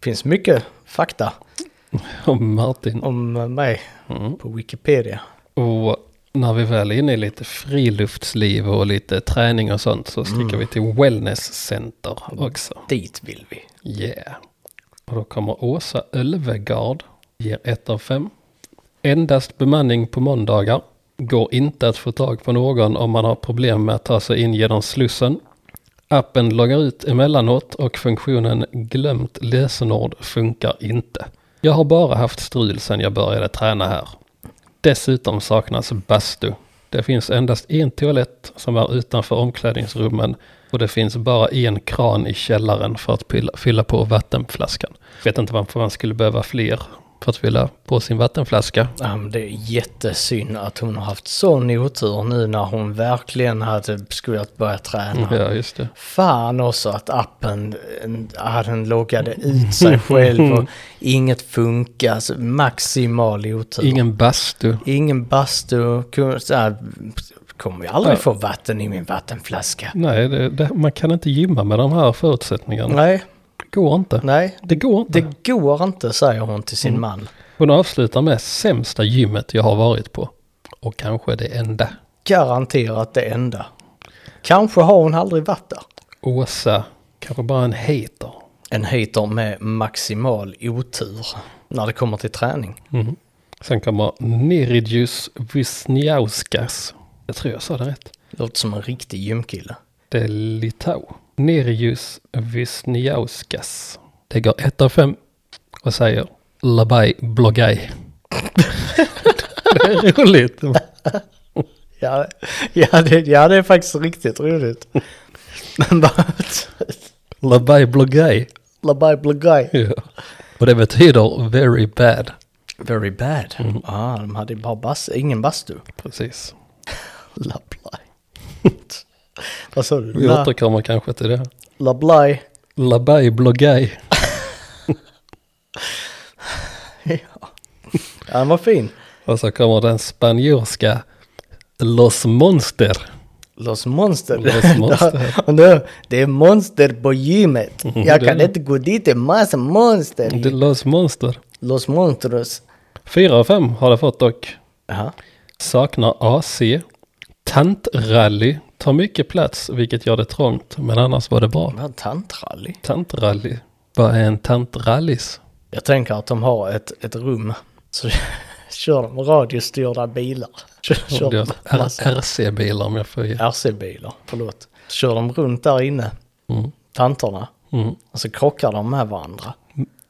[SPEAKER 2] finns mycket fakta
[SPEAKER 1] om Martin.
[SPEAKER 2] om mig
[SPEAKER 1] Mm.
[SPEAKER 2] på Wikipedia.
[SPEAKER 1] Och när vi väl är inne i lite friluftsliv och lite träning och sånt så sticker vi till wellness center också.
[SPEAKER 2] Dit vill vi.
[SPEAKER 1] Yeah. Och då kommer Åsa Ölvegard, ger 1 av 5. Endast bemanning på måndagar. Går inte att få tag på någon om man har problem med att ta sig in genom Slussen. Appen loggar ut emellanåt och funktionen glömt lösenord funkar inte. Jag har bara haft strul sedan jag började träna här. Dessutom saknas bastu. Det finns endast en toalett som är utanför omklädningsrummen och det finns bara en kran i källaren för att pilla- fylla på vattenflaskan. Vet inte varför man skulle behöva fler för att fylla på sin vattenflaska.
[SPEAKER 2] Ja, men Um, det är jättesynd att hon har haft sån otur nu när hon verkligen hade skulle att börja träna.
[SPEAKER 1] Ja, just det.
[SPEAKER 2] Fan också att appen, en- att den loggade ut sig själv
[SPEAKER 1] <laughs>
[SPEAKER 2] och inget funkar. Alltså maximal otur.
[SPEAKER 1] Ingen bastu.
[SPEAKER 2] Ingen bastu. kun- så här, Kommer jag aldrig
[SPEAKER 1] Ja.
[SPEAKER 2] få vatten i min vattenflaska.
[SPEAKER 1] Nej, det, det, man kan inte gymma med de här förutsättningarna.
[SPEAKER 2] Nej,
[SPEAKER 1] Det går inte.
[SPEAKER 2] nej.
[SPEAKER 1] Det går inte.
[SPEAKER 2] Det går inte, säger hon till sin man.
[SPEAKER 1] Hon avslutar med sämsta gymmet jag har varit på. Och kanske det enda.
[SPEAKER 2] Garanterat det enda. Kanske har hon aldrig varit där.
[SPEAKER 1] Åsa, kanske bara en hater.
[SPEAKER 2] En hater med maximal otur när det kommer till träning.
[SPEAKER 1] Mhm. Sen kommer Nerijus Wisniauskas. Jag tror jag sa det rätt.
[SPEAKER 2] Låter som en riktig gymkille.
[SPEAKER 1] Det är Litau. Nerijus Wisniauskas. Det går 1 av 5 och säger Labai Blogaj. <laughs> det är roligt.
[SPEAKER 2] Ja, ja, det, ja, det är faktiskt riktigt <laughs> roligt. Men bara...
[SPEAKER 1] Labai Blogaj.
[SPEAKER 2] Labai Blagaj.
[SPEAKER 1] Ja. Och det betyder very bad.
[SPEAKER 2] Very bad. Ah, de hade bara bas, ingen bastu.
[SPEAKER 1] Precis.
[SPEAKER 2] Lablaj. <laughs> Vad sa du?
[SPEAKER 1] Vi
[SPEAKER 2] La-
[SPEAKER 1] återkommer kanske till det.
[SPEAKER 2] Lablaj.
[SPEAKER 1] Labai Blogaj.
[SPEAKER 2] ja, den var fin.
[SPEAKER 1] Och så kommer den spanjorska Los Monster.
[SPEAKER 2] Los <laughs> Monster.
[SPEAKER 1] Los Monster.
[SPEAKER 2] Och nu, det är monster
[SPEAKER 1] <laughs>
[SPEAKER 2] på gymmet. Jag
[SPEAKER 1] det
[SPEAKER 2] kan
[SPEAKER 1] är-
[SPEAKER 2] inte gå dit, det är massa monster.
[SPEAKER 1] Det är Los Monster.
[SPEAKER 2] Los Monstros.
[SPEAKER 1] 4 av 5 har det fått dock.
[SPEAKER 2] Ja.
[SPEAKER 1] Saknar AC. Tantrally. Tar mycket plats vilket gör det trångt men annars var det bra.
[SPEAKER 2] Vad tantrally?
[SPEAKER 1] Tantrally. Vad är en tantrallis?
[SPEAKER 2] Jag tänker att de har ett, ett rum. Så <laughs> kör de radiostyrda bilar. <laughs> Kör, kör
[SPEAKER 1] Det
[SPEAKER 2] de
[SPEAKER 1] är
[SPEAKER 2] massa
[SPEAKER 1] R- RC-bilar om jag får ge.
[SPEAKER 2] RC-bilar, förlåt. Så kör de runt där inne,
[SPEAKER 1] Mm.
[SPEAKER 2] tanterna.
[SPEAKER 1] Mm.
[SPEAKER 2] Och så krockar de med varandra.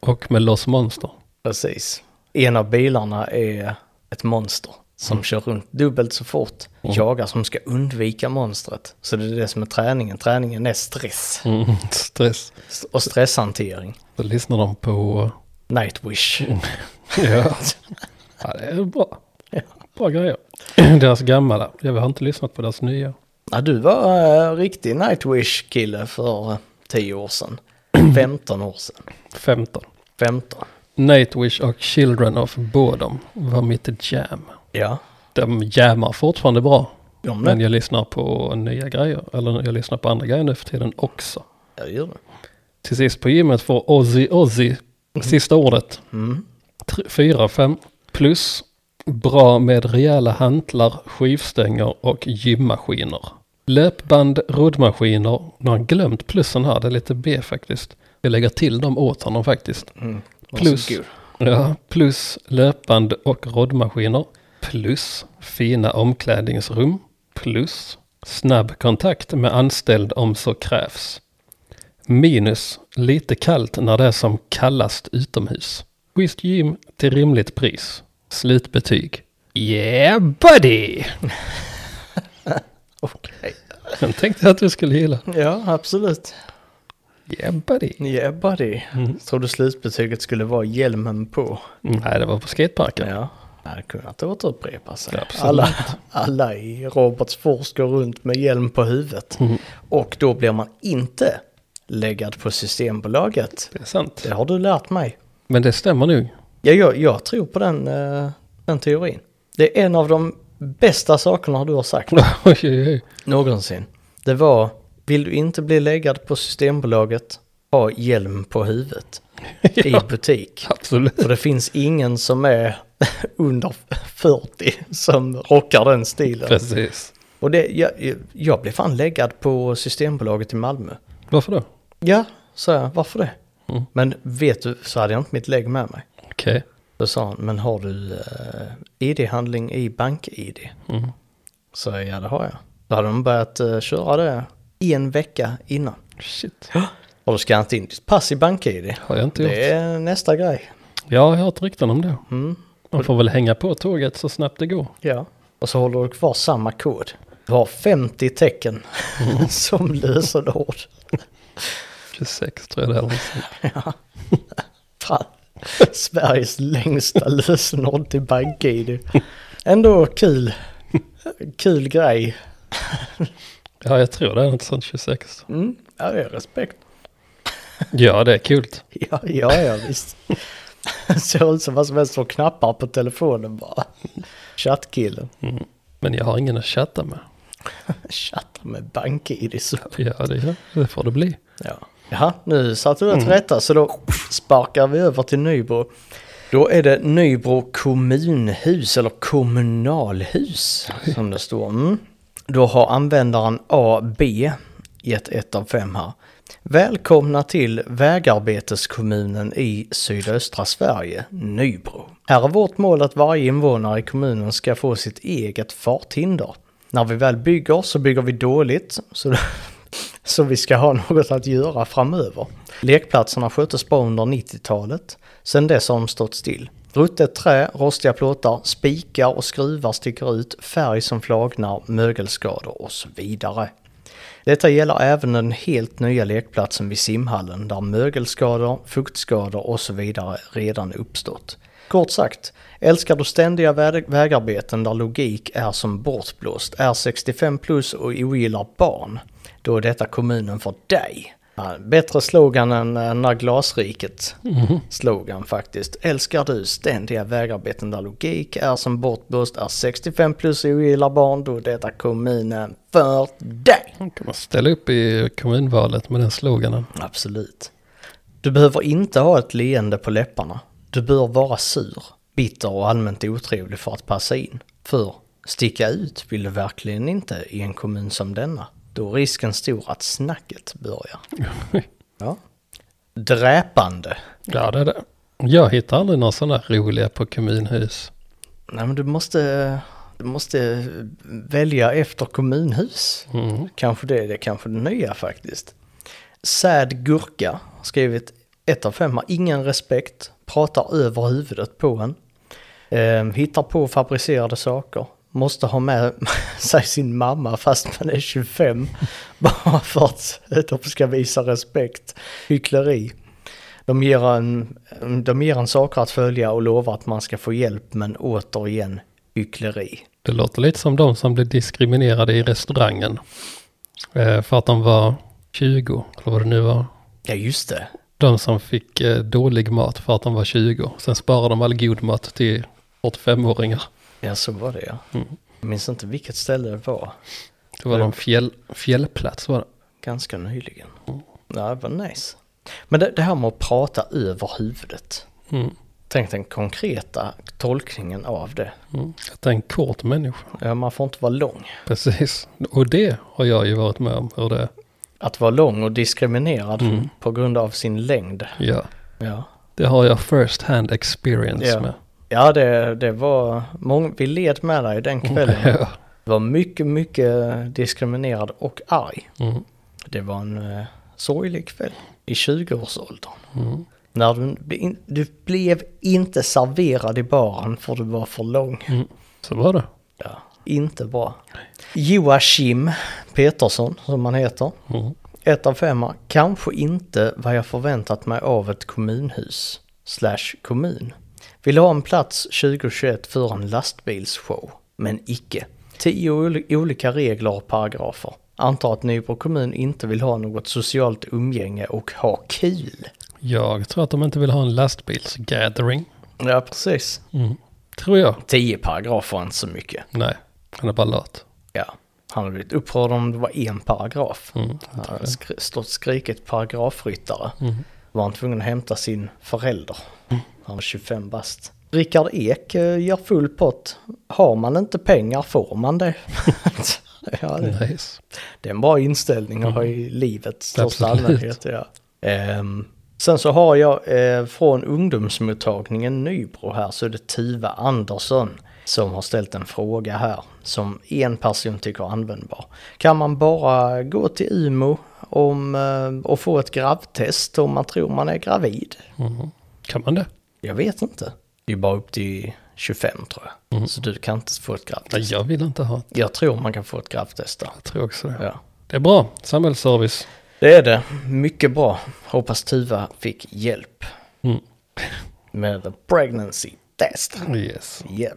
[SPEAKER 1] Och med Los Monster.
[SPEAKER 2] Precis. En av bilarna är ett monster som
[SPEAKER 1] Mm.
[SPEAKER 2] kör runt dubbelt så fort. Jagar som ska undvika monstret. Så det är det som är träningen. Träningen är stress
[SPEAKER 1] Mm. <laughs> Stress.
[SPEAKER 2] S- och stresshantering.
[SPEAKER 1] Då lyssnar de på... <laughs>
[SPEAKER 2] Nightwish.
[SPEAKER 1] Mm. Ja. ja det är bra.
[SPEAKER 2] Ja.
[SPEAKER 1] Bra grejer. <clears throat> Deras gamla. Jag har inte lyssnat på deras nya.
[SPEAKER 2] Ja, du var eh, riktig Nightwish-kille för eh, 10
[SPEAKER 1] <clears throat>
[SPEAKER 2] år sedan. 15 år sedan.
[SPEAKER 1] 15.
[SPEAKER 2] 15.
[SPEAKER 1] Nightwish och Children of Bodom var mitt jam.
[SPEAKER 2] Ja.
[SPEAKER 1] De jammar fortfarande bra.
[SPEAKER 2] De
[SPEAKER 1] Men
[SPEAKER 2] det.
[SPEAKER 1] jag lyssnar på nya grejer, eller jag lyssnar på andra grejer nu för tiden också.
[SPEAKER 2] Jag gör det.
[SPEAKER 1] Till sist på gymmet får Ozzy Ozzy sista ordet.
[SPEAKER 2] Mm.
[SPEAKER 1] 4 fem plus bra med rejäla hantlar, skivstänger och gymmaskiner. Löpband, roddmaskiner. Nu har han glömt plussen här, det är lite B faktiskt. Jag lägger till dem åt honom faktiskt.
[SPEAKER 2] Mm.
[SPEAKER 1] Plus,
[SPEAKER 2] Varsågod.
[SPEAKER 1] ja, plus löpband och roddmaskiner. Plus fina omklädningsrum. Plus snabb kontakt med anställd om så krävs. Minus lite kallt när det är som kallast utomhus. Schysst gym till rimligt pris. Slutbetyg. Yeah buddy!
[SPEAKER 2] Okej.
[SPEAKER 1] Den tänkte jag att du skulle gilla.
[SPEAKER 2] Ja, absolut.
[SPEAKER 1] Yeah buddy.
[SPEAKER 2] Yeah buddy.
[SPEAKER 1] Mm.
[SPEAKER 2] Tror du slutbetyget skulle vara hjälmen på?
[SPEAKER 1] Nej, det var på skateparken.
[SPEAKER 2] Ja. Det hade kunnat återupprepa sig.
[SPEAKER 1] Ja, absolut.
[SPEAKER 2] alla, alla i Robertsfors går runt med hjälm på huvudet. Och då blir man inte läggad på Systembolaget.
[SPEAKER 1] Det är sant.
[SPEAKER 2] Det har du lärt mig.
[SPEAKER 1] Men det stämmer nog. <laughs>
[SPEAKER 2] Ja, jag, jag tror på den, eh, den teorin. Det är en av de bästa sakerna du har sagt
[SPEAKER 1] Oj, oj, oj.
[SPEAKER 2] någonsin. Det var, vill du inte bli läggad på Systembolaget, ha hjälm på huvudet i butik.
[SPEAKER 1] Absolut.
[SPEAKER 2] För det finns ingen som är <laughs> under 40 som rockar den stilen.
[SPEAKER 1] Precis.
[SPEAKER 2] Och det, jag, jag blev fan läggad på Systembolaget i Malmö.
[SPEAKER 1] Varför då?
[SPEAKER 2] Ja, sa jag, varför det?
[SPEAKER 1] Mm.
[SPEAKER 2] Men vet du, så hade jag inte mitt lägg med mig.
[SPEAKER 1] Okej.
[SPEAKER 2] Då sa han, men har du eh, ID-handling i bank-ID?
[SPEAKER 1] Mm.
[SPEAKER 2] Så jag, ja det har jag. Då hade de börjat eh, köra det en vecka innan.
[SPEAKER 1] Shit.
[SPEAKER 2] Har du skannat in ditt pass i bank-ID?
[SPEAKER 1] Har jag inte gjort.
[SPEAKER 2] Det är nästa grej.
[SPEAKER 1] Jag har hört rykten om det.
[SPEAKER 2] Mm.
[SPEAKER 1] Man får väl hänga på tåget så snabbt det går.
[SPEAKER 2] Ja. Och så håller du kvar samma kod. Du har 50 tecken <laughs> som lösenord.
[SPEAKER 1] 26 tror jag det är. eller något sånt.
[SPEAKER 2] Fan. Sveriges längsta lösenord till BankID. Ändå kul. Kul grej.
[SPEAKER 1] Ja, jag tror det är något sånt 26.
[SPEAKER 2] Mm. Ja, det är respekt.
[SPEAKER 1] Ja, det är kul.
[SPEAKER 2] Ja, ja, ja visst. Ser ut som vad som helst som knappar på telefonen bara. Chattkillen.
[SPEAKER 1] Men jag har ingen att chatta med.
[SPEAKER 2] Chattar med BankID så.
[SPEAKER 1] Ja, det, det får det bli.
[SPEAKER 2] Ja. Jaha, nu satte du det till rätta så då sparkar vi över till Nybro. Då är det Nybro kommunhus eller kommunalhus som det står. Mm. Då har användaren AB gett ett av fem här. Välkomna till vägarbeteskommunen i sydöstra Sverige, Nybro. Här är vårt mål att varje invånare i kommunen ska få sitt eget farthinder. När vi väl bygger så bygger vi dåligt, så <laughs> så vi ska ha något att göra framöver. Lekplatserna sköttes bra under 90-talet. Sen dess har de stått still. Ruttet trä, rostiga plåtar, spikar och skruvar sticker ut, färg som flagnar, mögelskador och så vidare. Detta gäller även den helt nya lekplatsen vid simhallen där mögelskador, fuktskador och så vidare redan uppstått. Kort sagt, älskar du ständiga vä- vägarbeten där logik är som bortblåst, är 65 plus och ogillar barn, då är detta kommunen för dig. Ja, Bättre slogan än eh, den där glasriket slogan faktiskt. Älskar du ständiga vägarbeten där logik är som bortblåst, är 65 plus och ogillar barn, då är detta kommunen för dig.
[SPEAKER 1] Man kan man ställa upp i kommunvalet med den sloganen.
[SPEAKER 2] Absolut. Du behöver inte ha ett leende på läpparna. Du bör vara sur, bitter och allmänt otrevlig för att passa in. För sticka ut vill du verkligen inte i en kommun som denna. Då är risken stor att snacket börjar. Ja. Dräpande.
[SPEAKER 1] Ja, det är det. Jag hittar aldrig några sådana roliga på kommunhus.
[SPEAKER 2] Nej men du måste, du måste välja efter kommunhus.
[SPEAKER 1] Mm.
[SPEAKER 2] Kanske det, det är kanske det nya faktiskt. Sad Gurka har skrivit ett av fem har ingen respekt, pratar över huvudet på en, eh, hittar på fabricerade saker, måste ha med <laughs> sig sin mamma fast man är 25, <laughs> bara för att de ska visa respekt. Hyckleri. De ger, en, de ger en saker att följa och lovar att man ska få hjälp men återigen hyckleri.
[SPEAKER 1] Det låter lite som de som blev diskriminerade i restaurangen. Eh, för att de var 20, eller vad det nu var.
[SPEAKER 2] Ja just det,
[SPEAKER 1] De som fick eh, dålig mat för att de var 20. Sen sparade de all god mat till 85-åringar.
[SPEAKER 2] Ja, så var det ja. Jag minns inte vilket ställe det var.
[SPEAKER 1] Det var någon fjäll, fjällplats var det.
[SPEAKER 2] Ganska nyligen. Ja, det var nice. Men det, det här med att prata över huvudet.
[SPEAKER 1] Mm.
[SPEAKER 2] Tänk den konkreta tolkningen av det.
[SPEAKER 1] Mm. Att det är en kort människa.
[SPEAKER 2] Ja, man får inte vara lång.
[SPEAKER 1] Precis. Och det har jag ju varit med om hur det
[SPEAKER 2] Att vara lång och diskriminerad på grund av sin längd.
[SPEAKER 1] Ja.
[SPEAKER 2] Ja,
[SPEAKER 1] Det har jag first hand experience
[SPEAKER 2] Ja.
[SPEAKER 1] med.
[SPEAKER 2] ja det, det var många, vi led med dig den
[SPEAKER 1] Mm. <laughs>
[SPEAKER 2] kvällen.
[SPEAKER 1] Ja.
[SPEAKER 2] Det var mycket, mycket diskriminerad och arg.
[SPEAKER 1] Mm.
[SPEAKER 2] Det var en eh, sorglig kväll i 20-årsåldern.
[SPEAKER 1] Mm.
[SPEAKER 2] När du, bli- du blev inte serverad i baren för du var för lång.
[SPEAKER 1] Mm. Så var det.
[SPEAKER 2] Ja. Inte bra. Joakim Petersson, som han heter.
[SPEAKER 1] Mm.
[SPEAKER 2] Ett av femma. Kanske inte vad jag förväntat mig av ett kommunhus. Slash kommun. Vill ha en plats 2021 för en lastbilsshow. Men icke. Tio ol- olika regler och paragrafer. Antar att Nybro kommun inte vill ha något socialt umgänge och ha kul.
[SPEAKER 1] Jag tror att de inte vill ha en lastbilsgathering.
[SPEAKER 2] Ja, precis.
[SPEAKER 1] Mm. Tror jag.
[SPEAKER 2] Tio paragrafer är inte så mycket.
[SPEAKER 1] Nej, han är bara lat.
[SPEAKER 2] Ja. Han hade blivit upprörd om det var en paragraf.
[SPEAKER 1] Mm.
[SPEAKER 2] Han hade skri- stått skriket paragrafryttare. Var han tvungen att hämta sin förälder. Han var 25 bast. Rickard Ek eh, ger full pott. Har man inte pengar får man det. <laughs> ja, det,
[SPEAKER 1] Nice.
[SPEAKER 2] det är en bra inställning att ha i livet största
[SPEAKER 1] Mm. Absolut.
[SPEAKER 2] allmänhet. Ja. Ehm, Sen så har jag eh, från ungdomsmottagningen Nybro här så är det Tuva Andersson som har ställt en fråga här som en person tycker är användbar. Kan man bara gå till Umo om, eh, och få ett gravtest om man tror man är gravid?
[SPEAKER 1] Mm. Kan man det?
[SPEAKER 2] Jag vet inte. Det är bara upp till 25 tror jag. Så du kan inte få ett
[SPEAKER 1] Mm. Nej,
[SPEAKER 2] gravtest.
[SPEAKER 1] jag vill inte ha det.
[SPEAKER 2] Jag tror man kan få ett gravtest där.
[SPEAKER 1] Jag tror också det.
[SPEAKER 2] Ja.
[SPEAKER 1] Det är bra. Samhällsservice.
[SPEAKER 2] Det är det. Mycket bra. Hoppas Tuva fick hjälp
[SPEAKER 1] Mm.
[SPEAKER 2] med the pregnancy test.
[SPEAKER 1] Yes.
[SPEAKER 2] Yep.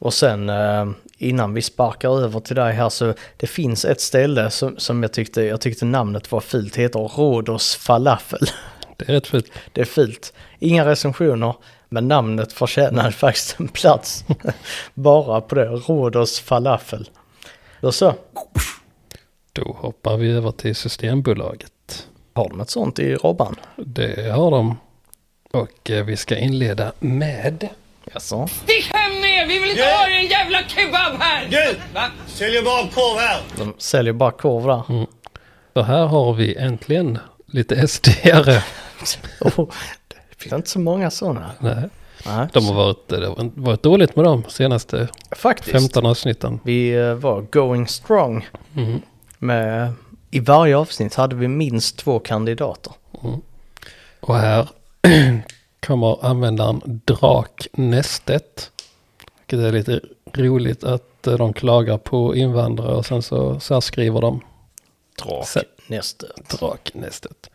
[SPEAKER 2] Och sen eh, innan vi sparkar över till dig här så det finns ett ställe som, som jag, tyckte, jag tyckte namnet var fult. Det heter Rhodos falafel. <laughs>
[SPEAKER 1] Det är rätt fint.
[SPEAKER 2] Det är fult. Inga recensioner, men namnet förtjänar <laughs> faktiskt en plats. <laughs> Bara på det, Rhodos falafel. Då så,
[SPEAKER 1] Då hoppar vi över till Systembolaget.
[SPEAKER 2] har de ett sånt i Robban?
[SPEAKER 1] Det har de. Och eh, vi ska inleda med...
[SPEAKER 2] Jaså?
[SPEAKER 4] Stick hem med er! Vi vill inte
[SPEAKER 5] Ja.
[SPEAKER 4] ha er jävla kebab här!
[SPEAKER 5] Du!
[SPEAKER 4] Va?
[SPEAKER 5] Säljer bara korv här!
[SPEAKER 2] De säljer bara korv där.
[SPEAKER 1] För här har vi äntligen lite SD-are.
[SPEAKER 2] <laughs> Oh, det finns inte så många sådana.
[SPEAKER 1] Nej,
[SPEAKER 2] Nej,
[SPEAKER 1] De har varit, det har varit dåligt med dem senaste
[SPEAKER 2] faktiskt.
[SPEAKER 1] 15 avsnitten.
[SPEAKER 2] Vi eh, var going strong.
[SPEAKER 1] Mm.
[SPEAKER 2] Med, I varje avsnitt hade vi minst två kandidater.
[SPEAKER 1] Och här <clears throat> kommer användaren Draknästet. Vilket är lite roligt att eh, de klagar på invandrare och sen så, så här skriver de
[SPEAKER 2] Drak.
[SPEAKER 1] Se-
[SPEAKER 2] Nästa.
[SPEAKER 1] Draknästet.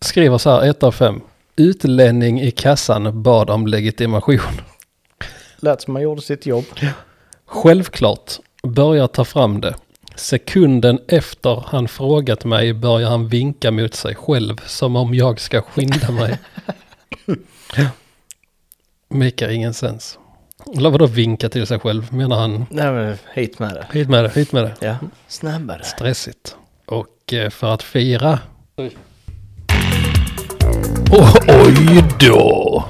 [SPEAKER 1] Skriver så här 1 av 5. Utlänning i kassan bad om legitimation.
[SPEAKER 2] Lät som man gjorde sitt jobb.
[SPEAKER 1] Självklart börjar ta fram det. Sekunden efter han frågat mig börjar han vinka mot sig själv som om jag ska skynda mig. Mekar ingen sens. Eller vadå vinka till sig själv menar han?
[SPEAKER 2] Nej men hit med det.
[SPEAKER 1] Hit med det, hit med det.
[SPEAKER 2] Ja, snabbare.
[SPEAKER 1] Stressigt. Och eh, för att fira... Oh, oj då!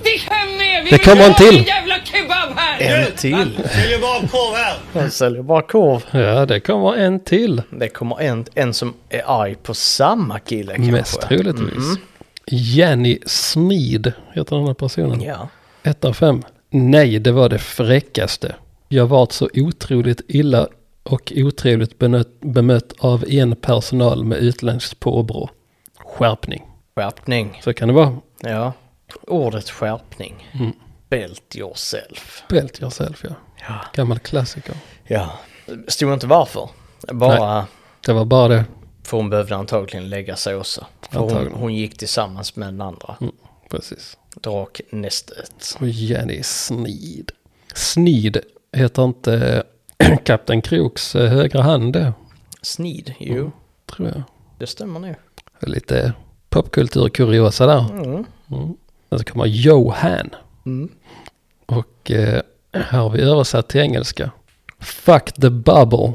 [SPEAKER 4] Stick hem med er! Vi
[SPEAKER 1] Det
[SPEAKER 4] vill
[SPEAKER 1] kommer
[SPEAKER 4] inte
[SPEAKER 1] en
[SPEAKER 4] ha
[SPEAKER 1] till.
[SPEAKER 4] er jävla kebab här!
[SPEAKER 2] En till.
[SPEAKER 5] Säljer bara korv här!
[SPEAKER 2] De säljer bara korv.
[SPEAKER 1] Ja, det kommer en till.
[SPEAKER 2] Det kommer en, en som är arg på samma kille kanske.
[SPEAKER 1] Mest troligtvis. Mm. Jenny Smid heter den här personen.
[SPEAKER 2] Ja.
[SPEAKER 1] Ett av fem. Nej, det var det fräckaste. Jag vart så otroligt illa och otroligt benöt, bemött av en personal med utländskt påbrå. Skärpning.
[SPEAKER 2] Skärpning.
[SPEAKER 1] Så kan det vara.
[SPEAKER 2] Ja. Ordet skärpning.
[SPEAKER 1] Mm.
[SPEAKER 2] Belt yourself.
[SPEAKER 1] Belt yourself, ja.
[SPEAKER 2] Ja.
[SPEAKER 1] Gammal klassiker.
[SPEAKER 2] Ja. Stod inte varför. Bara...
[SPEAKER 1] Det var bara det.
[SPEAKER 2] För hon behövde antagligen lägga sig också. För hon,
[SPEAKER 1] Antagligen. Mm.
[SPEAKER 2] hon gick tillsammans med den andra.
[SPEAKER 1] Precis.
[SPEAKER 2] Draknästet.
[SPEAKER 1] Och Jenny Snid. Snid heter inte <clears throat> Kapten Kroks eh, högra hand det,
[SPEAKER 2] Snid, jo.
[SPEAKER 1] Mm. tror jag.
[SPEAKER 2] Det stämmer nu.
[SPEAKER 1] Lite popkulturkuriosa där.
[SPEAKER 2] Mm.
[SPEAKER 1] Mm. Sen så kommer Johan. Och eh, här har vi översatt till engelska. Fuck the bubble.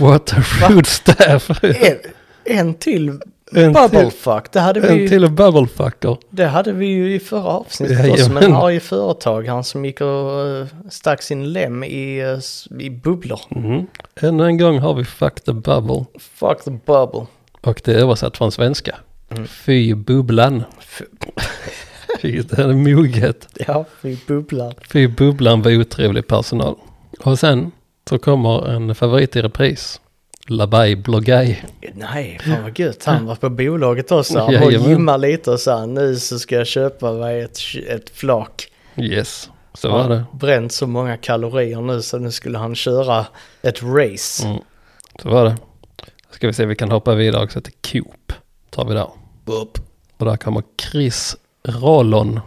[SPEAKER 1] What a rude staff.
[SPEAKER 2] En, en till
[SPEAKER 1] En
[SPEAKER 2] bubblefuck. Det, hade vi
[SPEAKER 1] En
[SPEAKER 2] ju-
[SPEAKER 1] till bubblefucker.
[SPEAKER 2] det hade vi ju i förra avsnittet.
[SPEAKER 1] Jajamän.
[SPEAKER 2] också med en arg företagare som gick och eh, stack sin lem i, eh, s- i bubblor.
[SPEAKER 1] Ännu en gång har vi fuck the bubble.
[SPEAKER 2] Fuck the bubble.
[SPEAKER 1] Och det är översatt från svenska. Fy bubblan.
[SPEAKER 2] F-
[SPEAKER 1] Fy, det här är moget.
[SPEAKER 2] ja, vi bubblar.
[SPEAKER 1] Fy bubblan var otrevlig personal. Och sen så kommer en favorit i repris. Labai Blogaj.
[SPEAKER 2] Nej, fan vad gött.
[SPEAKER 1] <laughs>
[SPEAKER 2] Han var på bolaget också. Han var och
[SPEAKER 1] Jajamän.
[SPEAKER 2] gymmade lite och sa nu så ska jag köpa mig ett, ett flak.
[SPEAKER 1] Yes, så var det.
[SPEAKER 2] bränt så många kalorier nu så nu skulle han köra ett race.
[SPEAKER 1] Mm. Så var det. Ska vi se, vi kan hoppa vidare också till Coop. Tar vi där.
[SPEAKER 2] Upp.
[SPEAKER 1] Och där kommer Chris Rollon.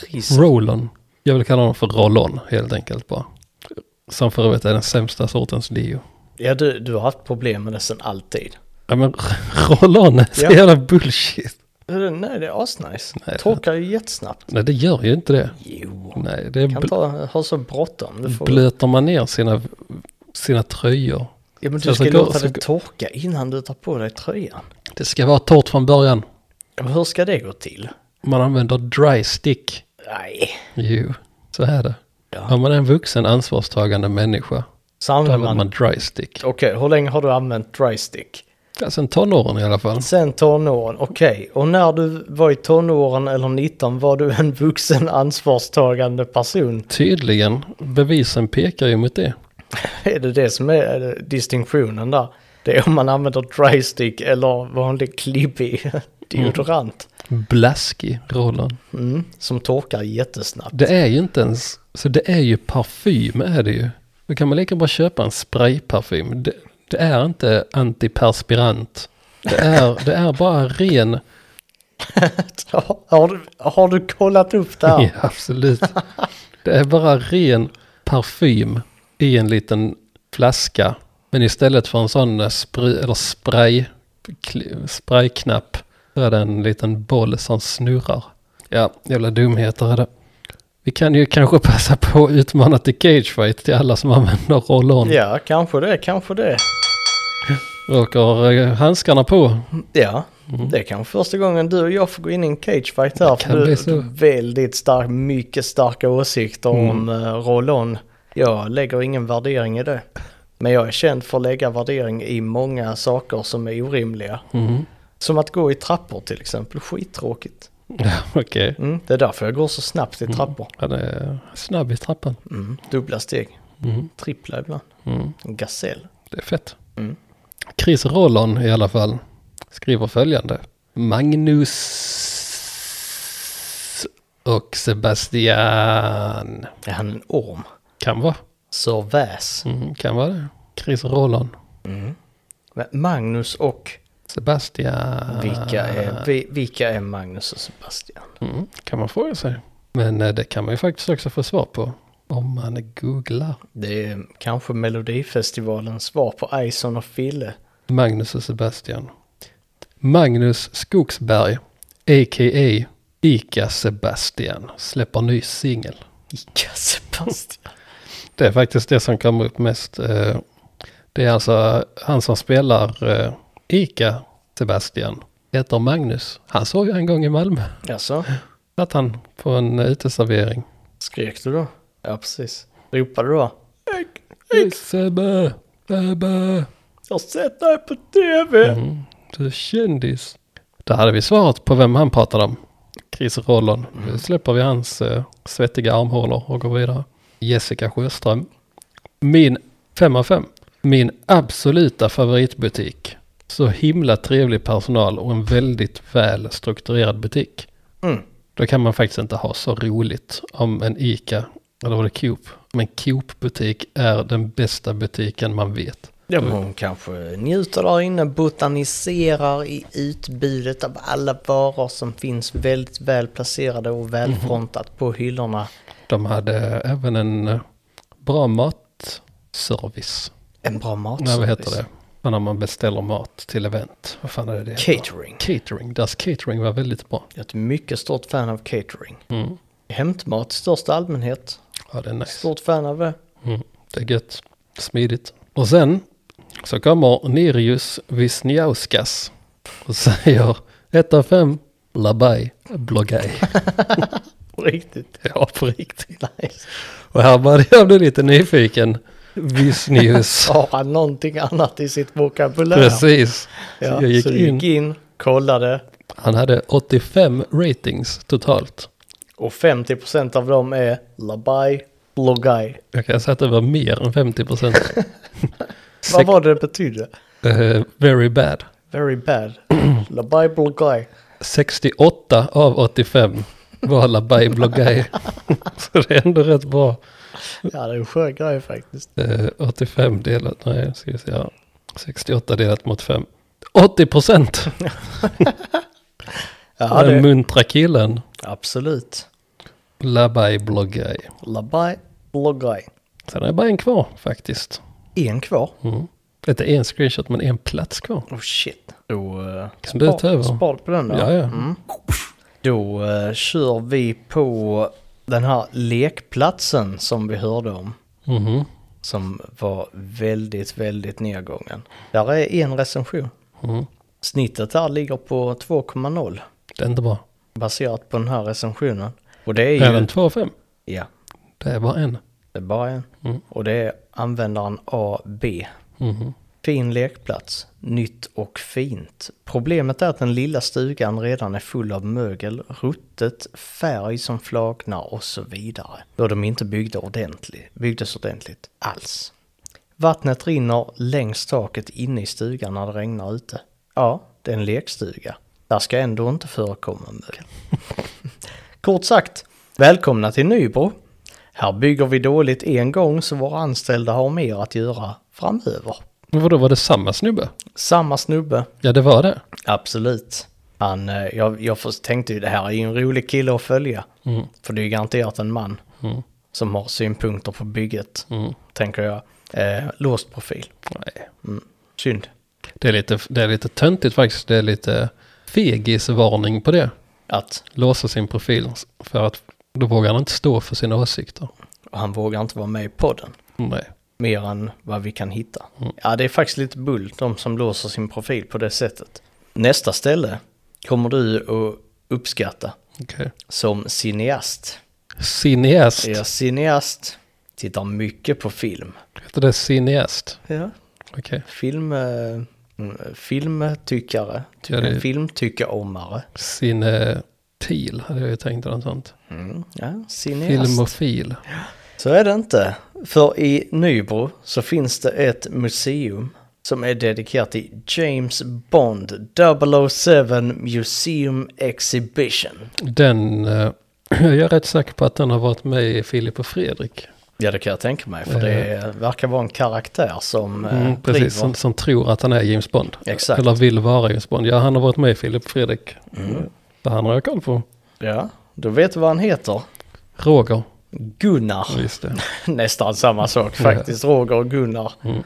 [SPEAKER 2] Chris.
[SPEAKER 1] Rollon. Jag vill kalla honom för Rollon helt enkelt bara. Som för övrigt är den sämsta sortens deo.
[SPEAKER 2] Ja, du, du har haft problem med det sedan alltid.
[SPEAKER 1] Ja men Rollon är så
[SPEAKER 2] Ja.
[SPEAKER 1] jävla bullshit.
[SPEAKER 2] Eh, Nej, det är asnice.
[SPEAKER 1] Nej,
[SPEAKER 2] Torkar ju jättesnabbt.
[SPEAKER 1] Nej det gör ju inte det.
[SPEAKER 2] Jo.
[SPEAKER 1] Nej, det är
[SPEAKER 2] Kan inte
[SPEAKER 1] bl-
[SPEAKER 2] ha ha så bråttom. Du får...
[SPEAKER 1] blöter man ner sina, sina tröjor.
[SPEAKER 2] Ja, men du
[SPEAKER 1] Så
[SPEAKER 2] ska
[SPEAKER 1] jag ska gå-
[SPEAKER 2] låta
[SPEAKER 1] ska
[SPEAKER 2] det torka innan du tar på dig tröjan.
[SPEAKER 1] Det ska vara torrt från början.
[SPEAKER 2] Ja, Men hur ska det gå till?
[SPEAKER 1] Man använder dry stick.
[SPEAKER 2] Nej.
[SPEAKER 1] Jo, så är det.
[SPEAKER 2] Ja.
[SPEAKER 1] Om man är en vuxen ansvarstagande människa,
[SPEAKER 2] Så
[SPEAKER 1] då
[SPEAKER 2] använder
[SPEAKER 1] använder
[SPEAKER 2] man...
[SPEAKER 1] man dry stick.
[SPEAKER 2] Okej, hur länge har du använt dry stick?
[SPEAKER 1] Ja, sen tonåren i alla fall.
[SPEAKER 2] Sen tonåren, okej. Och när du var i tonåren eller 19 var du en vuxen ansvarstagande person.
[SPEAKER 1] Tydligen, bevisen pekar ju mot det.
[SPEAKER 2] Är det det som är eh, distinktionen där? Det är om man använder dry stick eller vanlig klibbig <laughs> deodorant.
[SPEAKER 1] Blaskig rollen.
[SPEAKER 2] Mm, som torkar jättesnabbt. <laughs>
[SPEAKER 1] Det är ju inte ens, så det är ju parfym är det ju. Då kan man lika bra köpa en sprayparfym. Det, det är inte antiperspirant. Det är, det är bara ren,
[SPEAKER 2] Har du, har du kollat upp det
[SPEAKER 1] ja,
[SPEAKER 2] här?
[SPEAKER 1] absolut. Det är bara ren parfym i en liten flaska. Men istället för en sån eh, spray, eller spray, kli- sprayknapp så är det en liten boll som snurrar. Ja, jävla dumheter är det. Vi kan ju kanske passa på att utmana till cagefight till alla som använder roll-on.
[SPEAKER 2] Ja, kanske det, kanske det.
[SPEAKER 1] Råkar eh, handskarna på.
[SPEAKER 2] Ja, det är kanske första gången du och jag får gå in i en cagefight här.
[SPEAKER 1] Mm. kan
[SPEAKER 2] För du
[SPEAKER 1] bli så. Mm.
[SPEAKER 2] du har väldigt stark, mycket starka åsikter om uh, roll-on. Jag lägger ingen värdering i det. Men jag är känd för att lägga värdering i många saker som är orimliga.
[SPEAKER 1] Mm.
[SPEAKER 2] Som att gå i trappor till exempel, skittråkigt.
[SPEAKER 1] Ja, okej.
[SPEAKER 2] Mm. Det är därför jag går så snabbt i
[SPEAKER 1] Mm.
[SPEAKER 2] trappor.
[SPEAKER 1] Han är snabb i trappan.
[SPEAKER 2] Mm. Dubbla steg, trippla ibland.
[SPEAKER 1] Mm.
[SPEAKER 2] En gasell.
[SPEAKER 1] Det är fett.
[SPEAKER 2] Mm.
[SPEAKER 1] Chris Rollon i alla fall skriver följande. Magnus och Sebastian.
[SPEAKER 2] Är han en orm?
[SPEAKER 1] Kan vara.
[SPEAKER 2] Sir Väs.
[SPEAKER 1] Mm, kan vara det. Chris Rollon. Mm.
[SPEAKER 2] Men Magnus och
[SPEAKER 1] Sebastian.
[SPEAKER 2] Vilka är, vi, vilka är Magnus och Sebastian?
[SPEAKER 1] Mm, kan man fråga sig. Men eh, det kan man ju faktiskt också få svar på. Om man googlar.
[SPEAKER 2] Det är kanske Melodifestivalens svar på Ison och Fille.
[SPEAKER 1] Magnus och Sebastian. Magnus Skogsberg, a.k.a. Ica Sebastian, släpper ny singel.
[SPEAKER 2] Ica Sebastian.
[SPEAKER 1] Det är faktiskt det som kommer upp mest. eh, Det är alltså han som spelar eh, Ica Sebastian, heter Magnus. Han såg jag en gång i Malmö.
[SPEAKER 2] Alltså,
[SPEAKER 1] Satt han på en uteservering.
[SPEAKER 2] skrek du då? Ja, precis. Ropade du då?
[SPEAKER 1] Sebbe, Sebbe,
[SPEAKER 2] Jag har sett dig på tv!
[SPEAKER 1] du Mm. är kändis. Där hade vi svaret på vem han pratade om. Chris Rollon. Nu släpper vi hans eh, svettiga armhålor och går vidare. Jessica Sjöström. Min, fem av fem. min absoluta favoritbutik. Så himla trevlig personal och en väldigt väl strukturerad butik.
[SPEAKER 2] Mm.
[SPEAKER 1] Då kan man faktiskt inte ha så roligt om en ICA, eller var det Coop? Men Coop-butik är den bästa butiken man vet.
[SPEAKER 2] Ja, men hon kanske njuter där inne, botaniserar i utbudet av alla varor som finns väldigt väl placerade och välfrontat på hyllorna.
[SPEAKER 1] De hade även en eh, bra matservice.
[SPEAKER 2] En bra matservice.
[SPEAKER 1] Nej, vad heter det? Men när man beställer mat till event. Vad fan är det det? heter?
[SPEAKER 2] Catering.
[SPEAKER 1] Catering. Deras catering var väldigt bra.
[SPEAKER 2] Jag är ett mycket stort fan av catering.
[SPEAKER 1] Mm.
[SPEAKER 2] Hämtmat i största allmänhet.
[SPEAKER 1] Ja, det är nice.
[SPEAKER 2] Stort fan av eh, det.
[SPEAKER 1] Mm. Det är gött. Smidigt. Och sen så kommer Nirius Wisniauskas och <laughs> säger 1 av 5 Labai
[SPEAKER 2] <laughs>
[SPEAKER 1] Blogaj.
[SPEAKER 2] Riktigt
[SPEAKER 1] ja, på riktigt.
[SPEAKER 2] nice.
[SPEAKER 1] Och här började jag bli lite nyfiken.
[SPEAKER 2] <laughs>
[SPEAKER 1] Wisnius.
[SPEAKER 2] Har han någonting annat i sitt vokabulär?
[SPEAKER 1] Precis.
[SPEAKER 2] Ja,
[SPEAKER 1] så jag gick
[SPEAKER 2] så du
[SPEAKER 1] in.
[SPEAKER 2] gick in, kollade
[SPEAKER 1] Han hade 85 ratings totalt.
[SPEAKER 2] och 50% av dem är Labai Blogai.
[SPEAKER 1] Jag kan säga att det var mer än 50
[SPEAKER 2] <laughs>
[SPEAKER 1] procent.
[SPEAKER 2] Vad var det det betydde?
[SPEAKER 1] eh, very bad.
[SPEAKER 2] Very bad.
[SPEAKER 1] <clears throat>
[SPEAKER 2] Labai Blogai.
[SPEAKER 1] 68 av 85 var Labai Blogay. <laughs> Så det är ändå rätt bra.
[SPEAKER 2] Ja, det är en skön grej faktiskt.
[SPEAKER 1] Eh, 85 delat, nej, ska vi se här. 68 delat mot 5. 80 procent!
[SPEAKER 2] Ja,
[SPEAKER 1] Den
[SPEAKER 2] det,
[SPEAKER 1] muntra killen.
[SPEAKER 2] absolut.
[SPEAKER 1] Labai Blogay.
[SPEAKER 2] Labai Blogai.
[SPEAKER 1] Sen är det bara en kvar faktiskt.
[SPEAKER 2] En kvar.
[SPEAKER 1] Mm. Inte en screenshot men en plats kvar.
[SPEAKER 2] Oh shit. Då, eh,
[SPEAKER 1] Kan du ta över?
[SPEAKER 2] Spar på den då. Mm.
[SPEAKER 1] Ja, ja.
[SPEAKER 2] Då eh, kör vi på den här lekplatsen som vi hörde om.
[SPEAKER 1] Mhm.
[SPEAKER 2] Som var väldigt, väldigt nedgången. Där är en recension.
[SPEAKER 1] Mm.
[SPEAKER 2] Snittet här ligger på 2,0
[SPEAKER 1] Det är inte bra.
[SPEAKER 2] baserat på den här recensionen. Och det är ju...
[SPEAKER 1] Är den 2 av 5?
[SPEAKER 2] Ja,
[SPEAKER 1] Det är bara en.
[SPEAKER 2] det är bara en. Och det är användaren AB.
[SPEAKER 1] Mhm.
[SPEAKER 2] Fin lekplats. Nytt och fint. Problemet är att den lilla stugan redan är full av mögel, ruttet, färg som flagnar och så vidare. Då de inte byggde ordentligt, byggdes ordentligt alls. Vattnet rinner längs taket inne i stugan när det regnar ute. Ja, det är en lekstuga. Där ska ändå inte förekomma mögel. Kort sagt, välkomna till Nybro. Här bygger vi dåligt en gång så våra anställda har mer att göra framöver.
[SPEAKER 1] Men vadå, var det samma snubbe?
[SPEAKER 2] Samma snubbe,
[SPEAKER 1] Ja, det var det.
[SPEAKER 2] absolut. Han, eh, jag, jag först- tänkte ju det här är ju en rolig kille att följa. För det är ju garanterat en man som har synpunkter på bygget, tänker jag. Eh, låst profil. Mm.
[SPEAKER 1] Nej.
[SPEAKER 2] Synd.
[SPEAKER 1] Det är, lite, det är lite töntigt faktiskt. Det är lite fegisvarning på det.
[SPEAKER 2] Att
[SPEAKER 1] Låsa sin profil för att då vågar han inte stå för sina åsikter.
[SPEAKER 2] han vågar inte vara med i podden.
[SPEAKER 1] Nej.
[SPEAKER 2] Mer än vad vi kan hitta. Ja, det är faktiskt lite bull, de som låser sin profil på det sättet. Nästa ställe kommer du att uppskatta
[SPEAKER 1] Okej.
[SPEAKER 2] som cineast.
[SPEAKER 1] Cineast.
[SPEAKER 2] Är jag cineast, tittar mycket på film.
[SPEAKER 1] Heter det cineast?
[SPEAKER 2] Ja.
[SPEAKER 1] Okej.
[SPEAKER 2] Film, eh, mm, filmtyckare, ty-
[SPEAKER 1] Ja, det-
[SPEAKER 2] en filmtyckeomare.
[SPEAKER 1] Cinetil hade jag ju tänkt eller något sånt.
[SPEAKER 2] Ja, cineast.
[SPEAKER 1] Filmofil.
[SPEAKER 2] Så är det inte. För i Nybro så finns det ett museum som är dedikerat till James Bond 007 Museum Exhibition.
[SPEAKER 1] Den, eh, <clears throat> jag är rätt säker på att den har varit med i Filip och Fredrik.
[SPEAKER 2] Ja, det kan jag tänka mig, för det verkar vara en karaktär som eh,
[SPEAKER 1] Eh. Mm,
[SPEAKER 2] driver.
[SPEAKER 1] precis, som, som tror att han är James Bond.
[SPEAKER 2] Exakt.
[SPEAKER 1] Eller vill vara James Bond. Ja, han har varit med i Filip och Fredrik.
[SPEAKER 2] Mm.
[SPEAKER 1] Så han har jag koll på.
[SPEAKER 2] Ja, då vet du vad han heter.
[SPEAKER 1] Roger,
[SPEAKER 2] Gunnar.
[SPEAKER 1] just det.
[SPEAKER 2] <laughs> Nästan samma sak faktiskt, Roger och Gunnar.
[SPEAKER 1] Mm.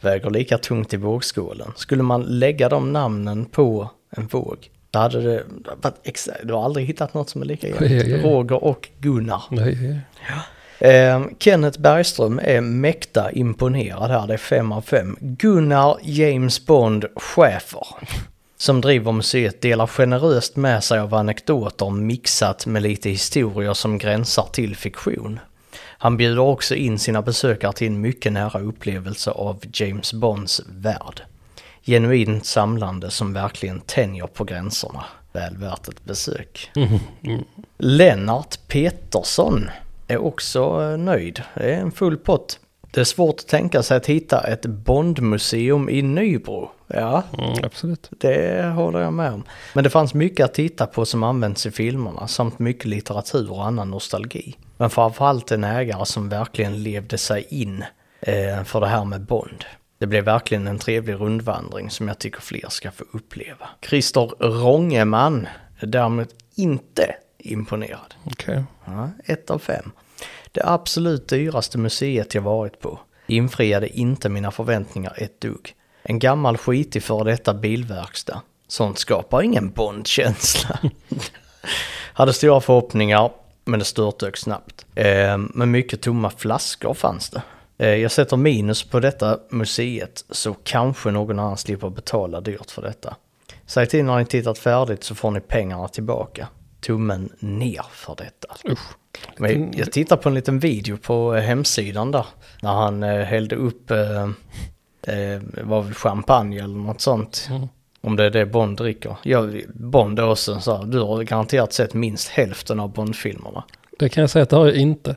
[SPEAKER 2] Väger lika tungt i vågskålen. Skulle man lägga de namnen på en våg, då hade det varit exa- Du har aldrig hittat något som är lika
[SPEAKER 1] Ja, ja, ja.
[SPEAKER 2] jämnt. Roger och Gunnar.
[SPEAKER 1] Nej,
[SPEAKER 2] Eh, Kenneth Bergström är mäkta imponerad här, det är fem av fem. Gunnar James Bond Schäfer, som driver museet, delar generöst med sig av anekdoter mixat med lite historier som gränsar till fiktion. Han bjuder också in sina besökare till en mycket nära upplevelse av James Bonds värld. Genuint samlande som verkligen tänjer på gränserna. Väl värt ett besök. Lennart Petersson är också eh, nöjd. Det är en full pott. Det är svårt att tänka sig att hitta ett Bondmuseum i Nybro. Ja,
[SPEAKER 1] mm, absolut.
[SPEAKER 2] det håller jag med om. Men det fanns mycket att titta på som används i filmerna samt mycket litteratur och annan nostalgi. Men framförallt en ägare som verkligen levde sig in eh, för det här med Bond. Det blev verkligen en trevlig rundvandring som jag tycker fler ska få uppleva. Christer Rångeman är däremot inte imponerad.
[SPEAKER 1] Okej.
[SPEAKER 2] Ja, ett av fem. Det absolut dyraste museet jag varit på infriade inte mina förväntningar ett dugg. En gammal skitig före detta bilverkstad. Sånt skapar ingen bondkänsla. <laughs> Hade stora förhoppningar, men det störtdök snabbt. Eh, men mycket tomma flaskor fanns det. Eh, jag sätter minus på detta museet, så kanske någon annan slipper betala dyrt för detta. Säg till när ni tittat färdigt så får ni pengarna tillbaka. Tummen ner för detta.
[SPEAKER 1] Usch.
[SPEAKER 2] Men jag tittar på en liten video på eh, hemsidan där. När han eh, hällde upp, eh, eh, var väl champagne eller något sånt. Om det är det Bond dricker. Jag, Bond är också en så här, du har garanterat sett minst hälften av Bond-filmerna.
[SPEAKER 1] Det kan jag säga att det har jag inte.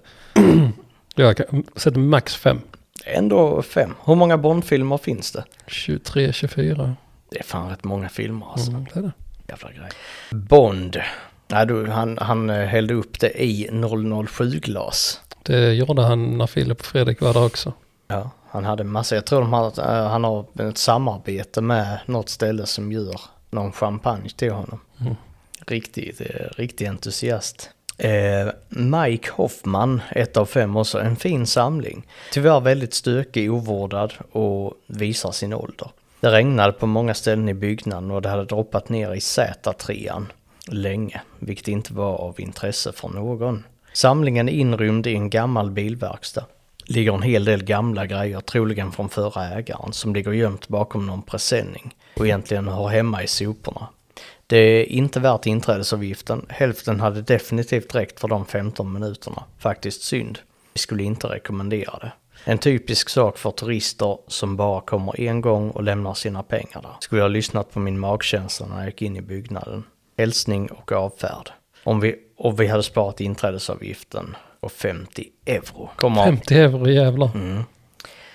[SPEAKER 1] <clears throat> jag har sett max 5.
[SPEAKER 2] Ändå fem. Hur många Bond-filmer finns det?
[SPEAKER 1] 23, 24.
[SPEAKER 2] Det är fan rätt många filmer alltså.
[SPEAKER 1] Mm, det är det.
[SPEAKER 2] Jävla grej. Bond. Nej, du, han, han eh, hällde upp det i 007-glas.
[SPEAKER 1] det gjorde han när Filip och Fredrik var där också.
[SPEAKER 2] Ja, han hade en massa. Jag tror de har, eh, han har ett samarbete med något ställe som gör någon champagne till honom. Riktigt, eh, riktig entusiast. Eh, Mike Hoffman, ett av fem också, en fin samling. Tyvärr väldigt stökig, ovårdad och visar sin ålder. Det regnade på många ställen i byggnaden och det hade droppat ner i Z3an länge, vilket inte var av intresse för någon. Samlingen är inrymd i en gammal bilverkstad. Ligger en hel del gamla grejer, troligen från förra ägaren, som ligger gömt bakom någon presenning och egentligen hör hemma i soporna. Det är inte värt inträdesavgiften. Hälften hade definitivt räckt för de 15 minuterna. Faktiskt synd. Vi skulle inte rekommendera det. En typisk sak för turister som bara kommer en gång och lämnar sina pengar där. Skulle jag ha lyssnat på min magkänsla när jag gick in i byggnaden. Hälsning och avfärd. Om vi, och vi hade sparat inträdesavgiften och 50 euro. Kommer,
[SPEAKER 1] 50 euro jävlar.
[SPEAKER 2] Mm.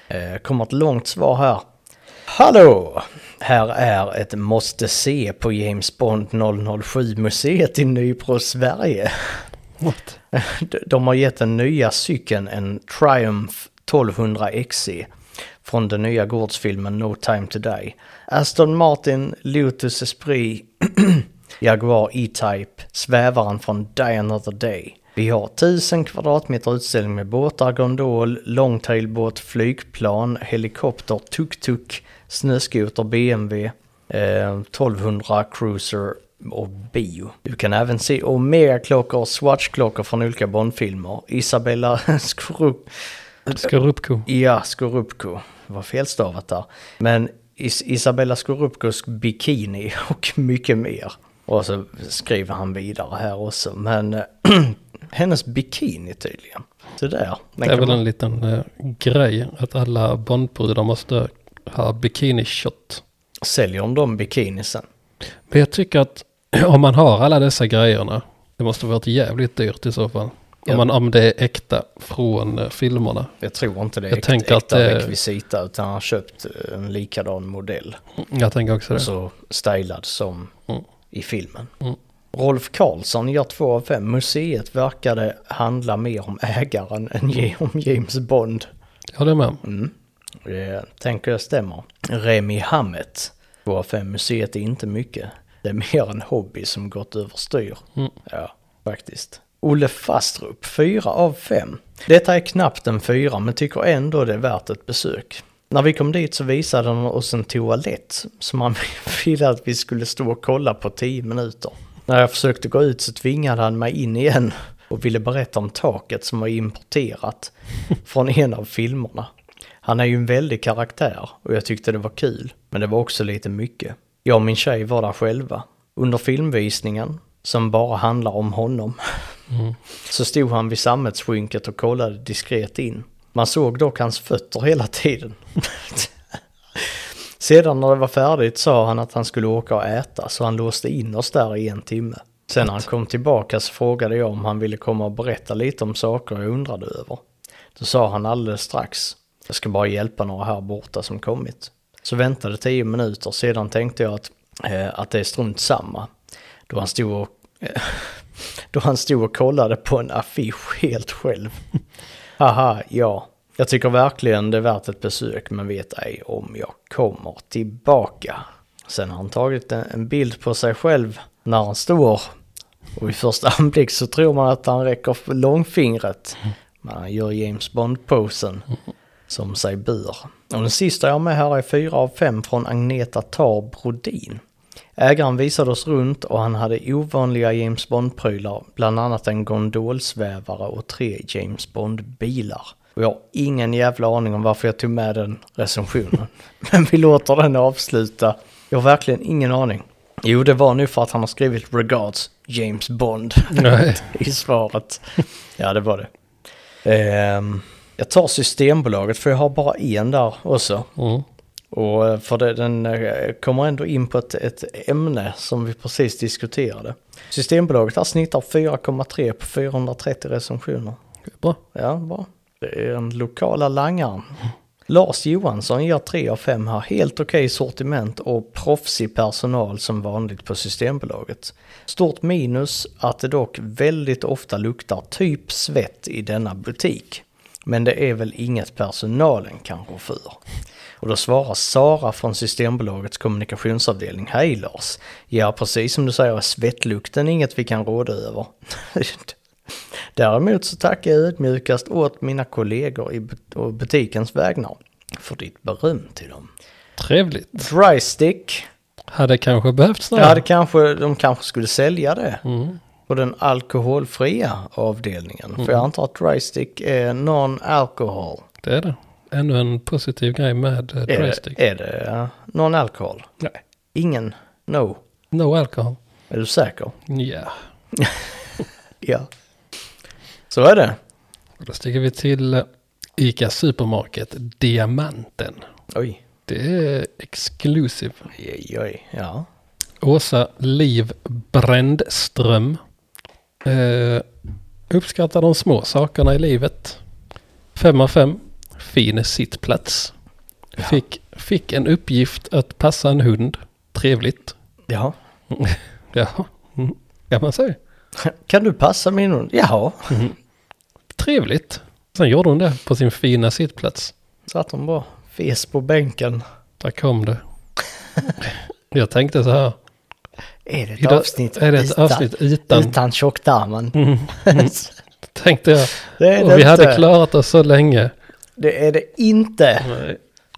[SPEAKER 2] eh, kommer ett långt svar här. Hallå! Här är ett måste se på James Bond 007-museet i Nybro, Sverige.
[SPEAKER 1] What?
[SPEAKER 2] De- De har gett den nya cykeln en Triumph 1200 XE E från den nya gårdsfilmen No Time To Die. Aston Martin, Lotus Esprit, Jaguar E-Type, svävaren från Die Another Day. Vi har 1000 kvadratmeter utställning med båtar, gondol, longtailbåt, flygplan, helikopter, tuk-tuk, snöskoter, BMW, eh, 1200 cruiser och bio. Du kan även se Omega-klockor och Swatch-klockor från olika Bondfilmer. Isabella <laughs> Skrupp...
[SPEAKER 1] Skorupko.
[SPEAKER 2] Ja, Skorupko. Det var felstavat där. Men Is- Isabella Skorupkos bikini <laughs> och mycket mer. Och så skriver han vidare här också. Men <clears throat> eh, hennes bikini tydligen. Så där. Den
[SPEAKER 1] Det är
[SPEAKER 2] kan
[SPEAKER 1] väl
[SPEAKER 2] man-
[SPEAKER 1] en liten eh, grej att alla Bondbrudar måste ha bikini-shot.
[SPEAKER 2] Säljer om de bikinisen?
[SPEAKER 1] Men jag tycker att <clears throat> om man har alla dessa grejerna, det måste varit jävligt dyrt i så fall.
[SPEAKER 2] Ja.
[SPEAKER 1] Om, man, om det är äkta från eh, filmerna.
[SPEAKER 2] Jag tror inte det är
[SPEAKER 1] Jag
[SPEAKER 2] äkt,
[SPEAKER 1] tänker
[SPEAKER 2] äkta
[SPEAKER 1] att det-
[SPEAKER 2] rekvisita utan han har köpt en likadan modell.
[SPEAKER 1] Jag tänker också det.
[SPEAKER 2] Så stylad som
[SPEAKER 1] Mm.
[SPEAKER 2] i filmen.
[SPEAKER 1] Mm.
[SPEAKER 2] Rolf Karlsson gör två av fem. Museet verkade handla mer om ägaren än ge- om James Bond.
[SPEAKER 1] Jag håller med.
[SPEAKER 2] Mm. Det Eh, tänker jag stämmer. Remi Hammet. Två av fem. Museet är inte mycket. Det är mer en hobby som gått överstyr. Ja, faktiskt. Olle Fastrup, fyra av fem. Detta är knappt en fyra men tycker ändå det är värt ett besök. När vi kom dit så visade han oss en toalett som han <laughs> ville att vi skulle stå och kolla på 10 minuter. När jag försökte gå ut så tvingade han mig in igen och ville berätta om taket som var importerat från en av filmerna. Han är ju en väldig karaktär och jag tyckte det var kul, men det var också lite mycket. Jag och min tjej var där själva. Under filmvisningen, som bara handlar om honom, så stod han vid sammetsskynket och kollade diskret in. Man såg dock hans fötter hela tiden. <laughs> Sedan när det var färdigt sa han att han skulle åka och äta, så han låste in oss där i en timme. Sen när han kom tillbaka så frågade jag om han ville komma och berätta lite om saker jag undrade över. Då sa han alldeles strax, jag ska bara hjälpa några här borta som kommit. Så väntade tio minuter, sedan tänkte jag att, eh, att det är strunt samma. Då han stod och, <laughs> då han stod och kollade på en affisch helt själv. Haha, ja. Jag tycker verkligen det är värt ett besök men vet ej om jag kommer tillbaka. Sen har han tagit en- en bild på sig själv när han står. Och i första anblick så tror man att han räcker för långfingret. Men han gör James Bond-posen som sig bör. Och den sista jag har med här är 4 av 5 från Agneta Tar Brodin. Ägaren visade oss runt och han hade ovanliga James Bond-prylar, bland annat en gondolsvävare och tre James Bond-bilar. Och jag har ingen jävla aning om varför jag tog med den recensionen. <laughs> Men vi låter den avsluta. Jag har verkligen ingen aning. Jo, det var nu för att han har skrivit “Regards, James Bond”
[SPEAKER 1] <laughs> Nej.
[SPEAKER 2] i svaret. Ja, det var det. Ehm, jag tar Systembolaget för jag har bara en där också.
[SPEAKER 1] Mm.
[SPEAKER 2] Och eh, för det, den eh, kommer ändå in på ett, ett ämne som vi precis diskuterade. Systembolaget här snittar 4,3 på 430 recensioner.
[SPEAKER 1] Det är Bra.
[SPEAKER 2] Ja, bra. Det är den lokala langaren. Lars Johansson ger 3 av 5 här. Helt okej sortiment och proffsig personal som vanligt på Systembolaget. Stort minus att det dock väldigt ofta luktar typ svett i denna butik. Men det är väl inget personalen kan rå för. Och då svarar Sara från Systembolagets kommunikationsavdelning. Hej Lars! Ja, precis som du säger är svettlukten inget vi kan råda över. <laughs> Däremot så tackar jag ödmjukast åt mina kollegor i but- och butikens vägnar för ditt beröm till dem.
[SPEAKER 1] Trevligt.
[SPEAKER 2] Drystick.
[SPEAKER 1] Hade kanske behövts det.
[SPEAKER 2] Ja, det kanske, de kanske skulle sälja det på den alkoholfria avdelningen. För jag antar att Drystick är non-alkohol.
[SPEAKER 1] Det är det. Ännu en positiv grej med eh,
[SPEAKER 2] Är,
[SPEAKER 1] Draystick.
[SPEAKER 2] är det eh, non-alkohol?
[SPEAKER 1] Nej.
[SPEAKER 2] Ingen? No?
[SPEAKER 1] No alcohol.
[SPEAKER 2] Är du säker?
[SPEAKER 1] Ja.
[SPEAKER 2] Ja. Så är det.
[SPEAKER 1] Då sticker vi till eh, ICA Supermarket Diamanten.
[SPEAKER 2] Oj.
[SPEAKER 1] Det är exclusive.
[SPEAKER 2] Oj, oj. Ja.
[SPEAKER 1] Åsa Liv Brändström. Eh, uppskattar de små sakerna i livet. Fem av fem. Fin sittplats. Fick, fick en uppgift att passa en hund. Trevligt.
[SPEAKER 2] Jaha.
[SPEAKER 1] Ja, mm. kan man säga.
[SPEAKER 2] <laughs> Kan du passa min hund? Jaha.
[SPEAKER 1] Trevligt. Sen gjorde hon det på sin fina sittplats.
[SPEAKER 2] Satt hon bara fes på bänken.
[SPEAKER 1] Där kom
[SPEAKER 2] <laughs>
[SPEAKER 1] det. Jag tänkte så här.
[SPEAKER 2] Är det ett
[SPEAKER 1] Idag-
[SPEAKER 2] avsnitt
[SPEAKER 1] är det ett avsnitt Mm. utan?
[SPEAKER 2] Utan tjocktarmen.
[SPEAKER 1] Tänkte jag.
[SPEAKER 2] det är
[SPEAKER 1] Och
[SPEAKER 2] det
[SPEAKER 1] vi hade
[SPEAKER 2] inte.
[SPEAKER 1] klarat oss så länge.
[SPEAKER 2] <laughs> det är det inte.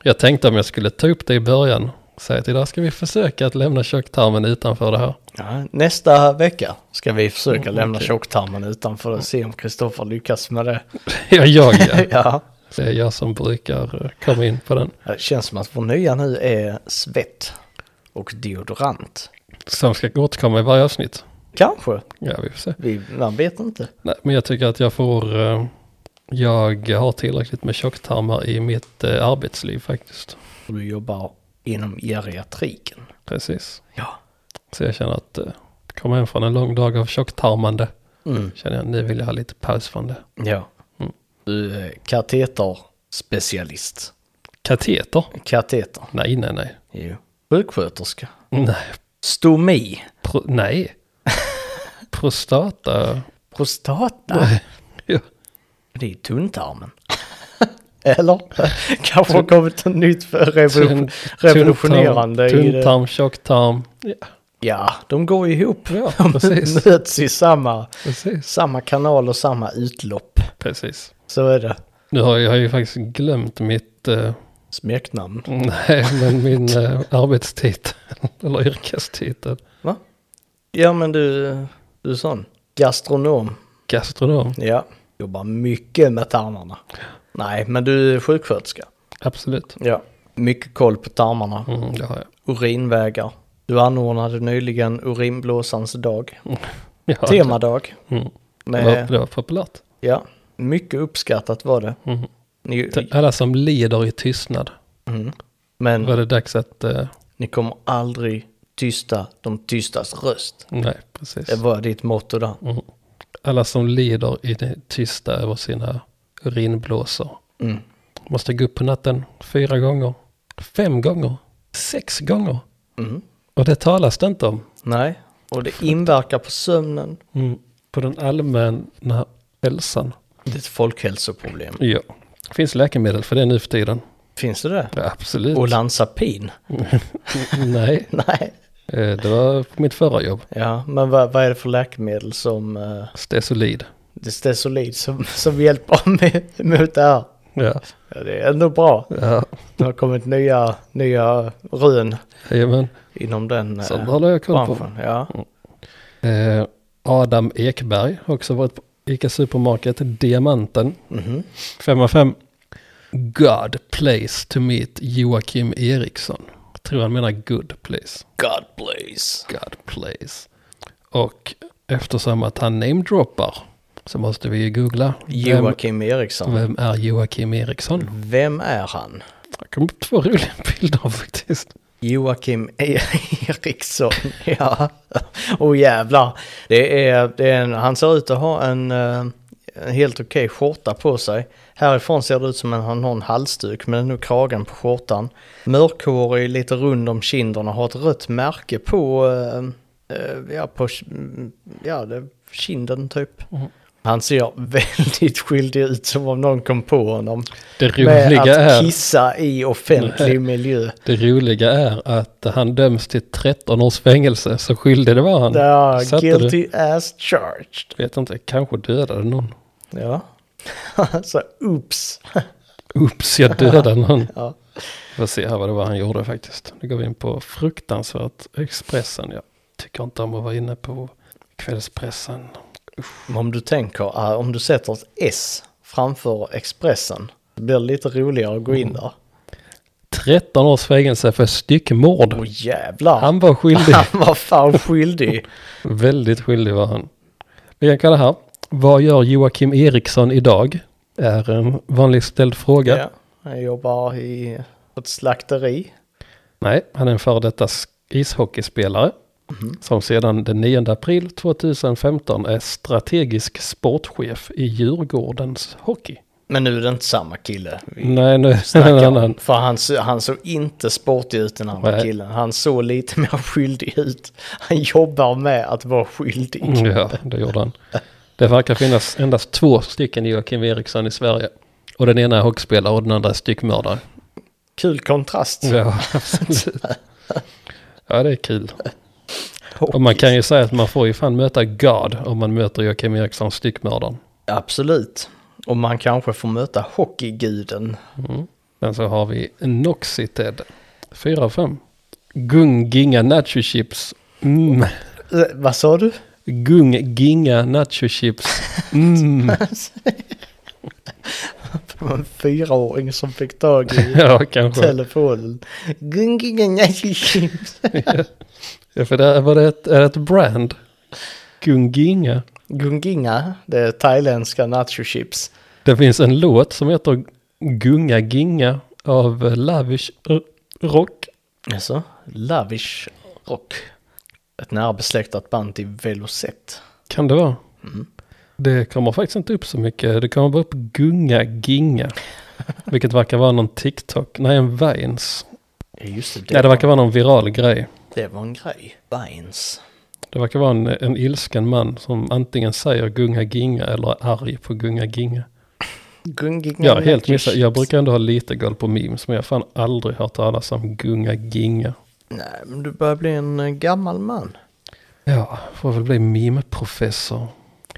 [SPEAKER 1] Jag tänkte om jag skulle ta upp det i början. Säga att idag ska vi försöka att lämna tjocktarmen utanför det här.
[SPEAKER 2] Ja, nästa vecka ska vi försöka lämna
[SPEAKER 1] Mm, okej.
[SPEAKER 2] tjocktarmen utanför och se om Kristoffer lyckas med det.
[SPEAKER 1] <laughs> Ja, jag ja.
[SPEAKER 2] <laughs> Ja.
[SPEAKER 1] Det är jag som brukar eh, komma in på den.
[SPEAKER 2] Det känns som att vår nya nu är svett och deodorant.
[SPEAKER 1] Som ska återkomma i varje avsnitt.
[SPEAKER 2] Kanske.
[SPEAKER 1] Ja, vi får se.
[SPEAKER 2] Vi, man vet inte.
[SPEAKER 1] Nej, men jag tycker att jag får... eh, Jag har tillräckligt med tjocktarmar i mitt eh, arbetsliv faktiskt.
[SPEAKER 2] Du jobbar inom geriatriken.
[SPEAKER 1] Precis.
[SPEAKER 2] Ja.
[SPEAKER 1] Så jag känner att eh, komma hem från en lång dag av tjocktarmande.
[SPEAKER 2] Mm.
[SPEAKER 1] Känner jag nu vill jag ha lite paus från det.
[SPEAKER 2] Ja.
[SPEAKER 1] Mm.
[SPEAKER 2] Du är kateterspecialist.
[SPEAKER 1] Kateter?
[SPEAKER 2] Kateter.
[SPEAKER 1] Nej, nej, nej.
[SPEAKER 2] Jo. Sjuksköterska.
[SPEAKER 1] Nej,
[SPEAKER 2] Stomi.
[SPEAKER 1] Pro,
[SPEAKER 2] <laughs>
[SPEAKER 1] nej. Prostata.
[SPEAKER 2] Prostata.
[SPEAKER 1] Ja.
[SPEAKER 2] Det är tunntarmen. <laughs> Eller? Kanske har kommit något nytt för revolution- revolutionerande i det.
[SPEAKER 1] Tunntarm, tjocktarm. Ja,
[SPEAKER 2] Ja, de går ihop.
[SPEAKER 1] Ja,
[SPEAKER 2] de
[SPEAKER 1] precis.
[SPEAKER 2] möts i samma,
[SPEAKER 1] precis.
[SPEAKER 2] samma kanal och samma utlopp.
[SPEAKER 1] Precis.
[SPEAKER 2] Så är det.
[SPEAKER 1] Nu har jag, jag har ju faktiskt glömt mitt, eh,
[SPEAKER 2] Smeknamn.
[SPEAKER 1] nej men min eh, arbetstitel, <laughs> eller yrkestitel.
[SPEAKER 2] Va? Ja, men du, du är sån. Gastronom.
[SPEAKER 1] Gastronom,
[SPEAKER 2] Ja. Jobbar mycket med tarmarna. Nej, men du är sjuksköterska.
[SPEAKER 1] absolut.
[SPEAKER 2] Ja. Mycket koll på tarmarna.
[SPEAKER 1] Mm, det har jag.
[SPEAKER 2] Urinvägar. Du anordnade nyligen urinblåsans dag.
[SPEAKER 1] jag har det.
[SPEAKER 2] Temadag.
[SPEAKER 1] Mm. Det, var,
[SPEAKER 2] Med,
[SPEAKER 1] det var populärt.
[SPEAKER 2] ja, mycket uppskattat var det.
[SPEAKER 1] Mm.
[SPEAKER 2] Ni,
[SPEAKER 1] Till alla som lider i tystnad
[SPEAKER 2] mm.
[SPEAKER 1] var
[SPEAKER 2] Men
[SPEAKER 1] det dags att, eh,
[SPEAKER 2] ni kommer aldrig tysta de tystas röst.
[SPEAKER 1] nej precis.
[SPEAKER 2] Det var ditt motto där.
[SPEAKER 1] Mm. Alla som lider i det tysta över sina urinblåsor.
[SPEAKER 2] Mm.
[SPEAKER 1] Måste gå upp på natten fyra gånger, fem gånger, sex gånger.
[SPEAKER 2] Mm.
[SPEAKER 1] Och det talas det inte om.
[SPEAKER 2] Nej, och det inverkar på sömnen.
[SPEAKER 1] På den allmänna hälsan.
[SPEAKER 2] Det är ett folkhälsoproblem.
[SPEAKER 1] Ja. Finns läkemedel för det nu för tiden?
[SPEAKER 2] Finns det det?
[SPEAKER 1] Ja, absolut.
[SPEAKER 2] Och Lansapin?
[SPEAKER 1] <laughs> Mm. Nej,
[SPEAKER 2] Nej.
[SPEAKER 1] eh, det var på mitt förra jobb.
[SPEAKER 2] Ja, men vad, vad är det för läkemedel som eh,
[SPEAKER 1] Stesolid.
[SPEAKER 2] det stesolid som, som hjälper <laughs> med, mot det här?
[SPEAKER 1] Ja.
[SPEAKER 2] Ja, det är ändå bra.
[SPEAKER 1] Ja.
[SPEAKER 2] Det har kommit nya, nya rön
[SPEAKER 1] Jajamän.
[SPEAKER 2] inom den eh,
[SPEAKER 1] Sånt håller jag koll på.
[SPEAKER 2] branschen. Ja.
[SPEAKER 1] Eh, Adam Ekberg har också varit på ICA Supermarket, Diamanten.
[SPEAKER 2] Mhm.
[SPEAKER 1] 5 av 5. God place to meet Joakim Eriksson. Jag tror han menar good place.
[SPEAKER 2] God please.
[SPEAKER 1] God place. Och eftersom att han namedroppar så måste vi ju googla. Vem,
[SPEAKER 2] Joakim Eriksson.
[SPEAKER 1] vem är Joakim Eriksson?
[SPEAKER 2] Vem är han?
[SPEAKER 1] Det kom upp två roliga <laughs> bilder faktiskt.
[SPEAKER 2] Joakim E- <laughs> Eriksson, ja. Oh jävlar. Det är, det är en, han ser ut att ha en, eh, en helt okej skjorta på sig. Härifrån ser det ut som att han har en halsduk, men det är nog kragen på skjortan. Mörkhårig, lite rund om kinderna, har ett rött märke på, eh, eh, ja, på mm, ja, det, kinden typ.
[SPEAKER 1] Mm.
[SPEAKER 2] Han ser <laughs> väldigt skyldig ut som om någon kom på honom.
[SPEAKER 1] Det
[SPEAKER 2] Med
[SPEAKER 1] roliga,
[SPEAKER 2] att
[SPEAKER 1] är,
[SPEAKER 2] kissa i offentlig miljö.
[SPEAKER 1] det roliga är att han döms till 13 års fängelse, så skyldig det var han.
[SPEAKER 2] Ja,
[SPEAKER 1] Satte det.
[SPEAKER 2] guilty as charged.
[SPEAKER 1] Vet inte, kanske dödade någon.
[SPEAKER 2] Ja. <laughs> så oops. <laughs>
[SPEAKER 1] Oops, jag dödade någon.
[SPEAKER 2] Ja.
[SPEAKER 1] Vi får se här vad det var han gjorde faktiskt. Nu går vi in på fruktansvärt Expressen. Jag tycker inte om att vara inne på kvällspressen.
[SPEAKER 2] Men Om du tänker, ah, om du sätter ett S framför Expressen, det blir lite roligare att gå in där.
[SPEAKER 1] 13 års fängelse för styckmord.
[SPEAKER 2] Åh jävlar! <laughs> Han
[SPEAKER 1] Han var skyldig.
[SPEAKER 2] var fan skyldig.
[SPEAKER 1] Väldigt skyldig var han. Vi kan kalla det här. Vad gör Joakim Eriksson idag? är en vanlig ställd fråga.
[SPEAKER 2] <laughs> Ja. Jag jobbar i ett slakteri.
[SPEAKER 1] Nej, han är en före detta sk- ishockeyspelare. Som sedan den 9 april 2015 är strategisk sportchef i Djurgårdens hockey.
[SPEAKER 2] Men nu är det inte samma kille vi
[SPEAKER 1] Nej, <laughs> nu är det en
[SPEAKER 2] snackar
[SPEAKER 1] annan.
[SPEAKER 2] om. För han, så- han såg inte sportig ut den andra
[SPEAKER 1] Nej.
[SPEAKER 2] killen. Han såg lite <laughs> mer skyldig ut. Han jobbar med att vara skyldig.
[SPEAKER 1] Ja, Mm, det gjorde han. Det verkar finnas endast två stycken Joakim Eriksson i Sverige. Och den ena är hockeyspelare och den andra är styckmördare.
[SPEAKER 2] Kul kontrast.
[SPEAKER 1] Ja, absolut. <laughs> Ja, det är kul. Och man kan ju säga att man får ju fan möta God om man möter Joakim Eriksson, styckmördaren.
[SPEAKER 2] Absolut. Och man kanske får möta hockeyguden.
[SPEAKER 1] Sen så har vi Noxited. 4 av 5. Gunginga nacho chips. Mm.
[SPEAKER 2] Eh, Vad sa du?
[SPEAKER 1] Gunginga nacho chips. <laughs> Mm.
[SPEAKER 2] Det var en fyraåring som fick tag <laughs> i
[SPEAKER 1] Ja, kanske.
[SPEAKER 2] telefonen. Gungingan chips.
[SPEAKER 1] Ja, för det var det ett, är det ett brand. Gunginga.
[SPEAKER 2] Gunginga, <laughs> det är thailändska nachochips.
[SPEAKER 1] Det finns en låt som heter Gunga Ginga av eh, Lavish eh, Rock.
[SPEAKER 2] Alltså, Lavish Rock. Ett närbesläktat band till Velocet.
[SPEAKER 1] Kan det vara? Det kommer faktiskt inte upp så mycket. Det kommer bara upp Gunga Ginga. Vilket verkar vara någon TikTok. Nej, en Vines.
[SPEAKER 2] Ja, just det. Det,
[SPEAKER 1] Nej, det
[SPEAKER 2] var,
[SPEAKER 1] verkar vara någon viral grej.
[SPEAKER 2] det var en grej. Vines.
[SPEAKER 1] Det verkar vara en, en ilsken man som antingen säger gunga ginga eller är arg på gunga ginga.
[SPEAKER 2] Gunginga
[SPEAKER 1] Jag har helt missat,
[SPEAKER 2] nachochips.
[SPEAKER 1] jag brukar ändå ha lite koll på memes men jag har fan aldrig hört talas om gunga ginga.
[SPEAKER 2] Nej, men du börjar bli en eh, gammal man.
[SPEAKER 1] Ja, får väl bli meme-professor.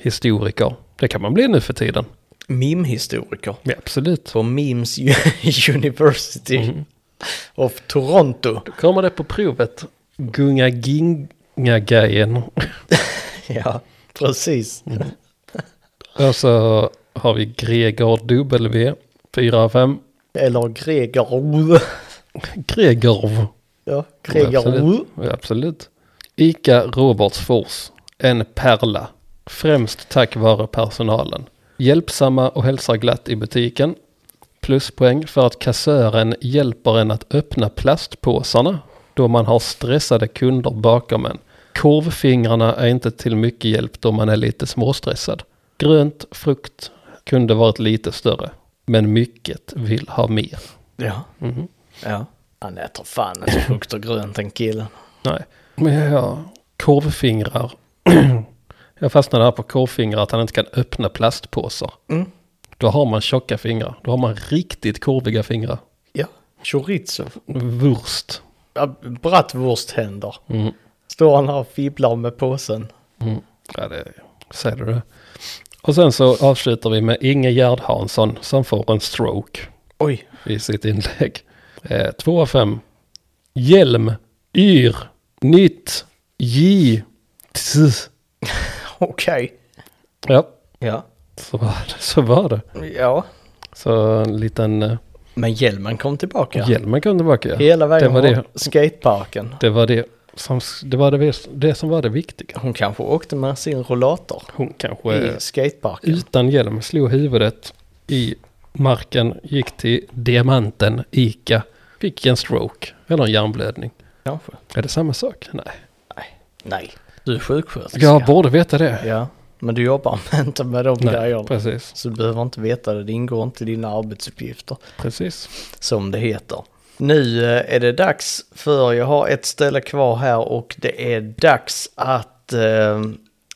[SPEAKER 1] Historiker. Det kan man bli nu för tiden.
[SPEAKER 2] Meme-historiker.
[SPEAKER 1] Ja, absolut.
[SPEAKER 2] På Memes <laughs> University
[SPEAKER 1] Mm.
[SPEAKER 2] of Toronto. <laughs>
[SPEAKER 1] Kommer det på provet? Gunga ginga grejen
[SPEAKER 2] Ja, precis.
[SPEAKER 1] <laughs> Mm. Och så har vi Gregor W. 4 av 5.
[SPEAKER 2] Eller Gregor.
[SPEAKER 1] Gregor.
[SPEAKER 2] Ja,
[SPEAKER 1] Ja,
[SPEAKER 2] Gregor.
[SPEAKER 1] Absolut. Ja, absolut. Ica Robertsfors, en pärla. Främst tack vare personalen. Hjälpsamma och hälsar glatt i butiken. Pluspoäng för att kassören hjälper en att öppna plastpåsarna då man har stressade kunder bakom en. Korvfingrarna är inte till mycket hjälp då man är lite småstressad. Grönt, frukt kunde varit lite större. Men mycket vill ha mer.
[SPEAKER 2] Ja.
[SPEAKER 1] Mm-hmm.
[SPEAKER 2] ja. Han äter fan inte frukt och grönt den killen.
[SPEAKER 1] Nej, men ja, korvfingrar. <clears throat> jag fastnade här på korvfingrar, att han inte kan öppna plastpåsar.
[SPEAKER 2] Mm.
[SPEAKER 1] Då har man tjocka fingrar, då har man riktigt korviga fingrar.
[SPEAKER 2] Ja. Chorizo.
[SPEAKER 1] Wurst.
[SPEAKER 2] Ja, Bratwurst händer.
[SPEAKER 1] Mm.
[SPEAKER 2] Står han här och fibblar med påsen.
[SPEAKER 1] Ja, det säger du det. Och sen så avslutar vi med Inge Gerd Hansson som får en stroke
[SPEAKER 2] Oj.
[SPEAKER 1] i sitt inlägg. Eh, två av fem. Hjälm, yr, nytt, j, tss.
[SPEAKER 2] Okej.
[SPEAKER 1] Ja,
[SPEAKER 2] Ja.
[SPEAKER 1] så var det. Så var det.
[SPEAKER 2] Ja.
[SPEAKER 1] Så en liten... eh,
[SPEAKER 2] Men hjälmen kom tillbaka.
[SPEAKER 1] Hjälmen kom tillbaka. ja.
[SPEAKER 2] Hela vägen
[SPEAKER 1] det var
[SPEAKER 2] från
[SPEAKER 1] det,
[SPEAKER 2] skateparken.
[SPEAKER 1] det var det som, det var det, det som var det viktiga.
[SPEAKER 2] Hon kanske åkte med sin rollator
[SPEAKER 1] Hon kanske
[SPEAKER 2] i skateparken.
[SPEAKER 1] utan hjälm slog huvudet i marken, gick till diamanten, Ica, fick en stroke eller en hjärnblödning.
[SPEAKER 2] Kanske.
[SPEAKER 1] Är det samma sak? Nej.
[SPEAKER 2] Nej. Nej. Du är sjuksköterska.
[SPEAKER 1] Jag borde veta det.
[SPEAKER 2] Ja. Men du jobbar inte med de
[SPEAKER 1] Nej,
[SPEAKER 2] grejerna.
[SPEAKER 1] precis.
[SPEAKER 2] Så du behöver inte veta det. Det ingår inte i dina arbetsuppgifter.
[SPEAKER 1] Precis.
[SPEAKER 2] som det heter. Nu eh, är det dags för jag har ett ställe kvar här och det är dags att eh,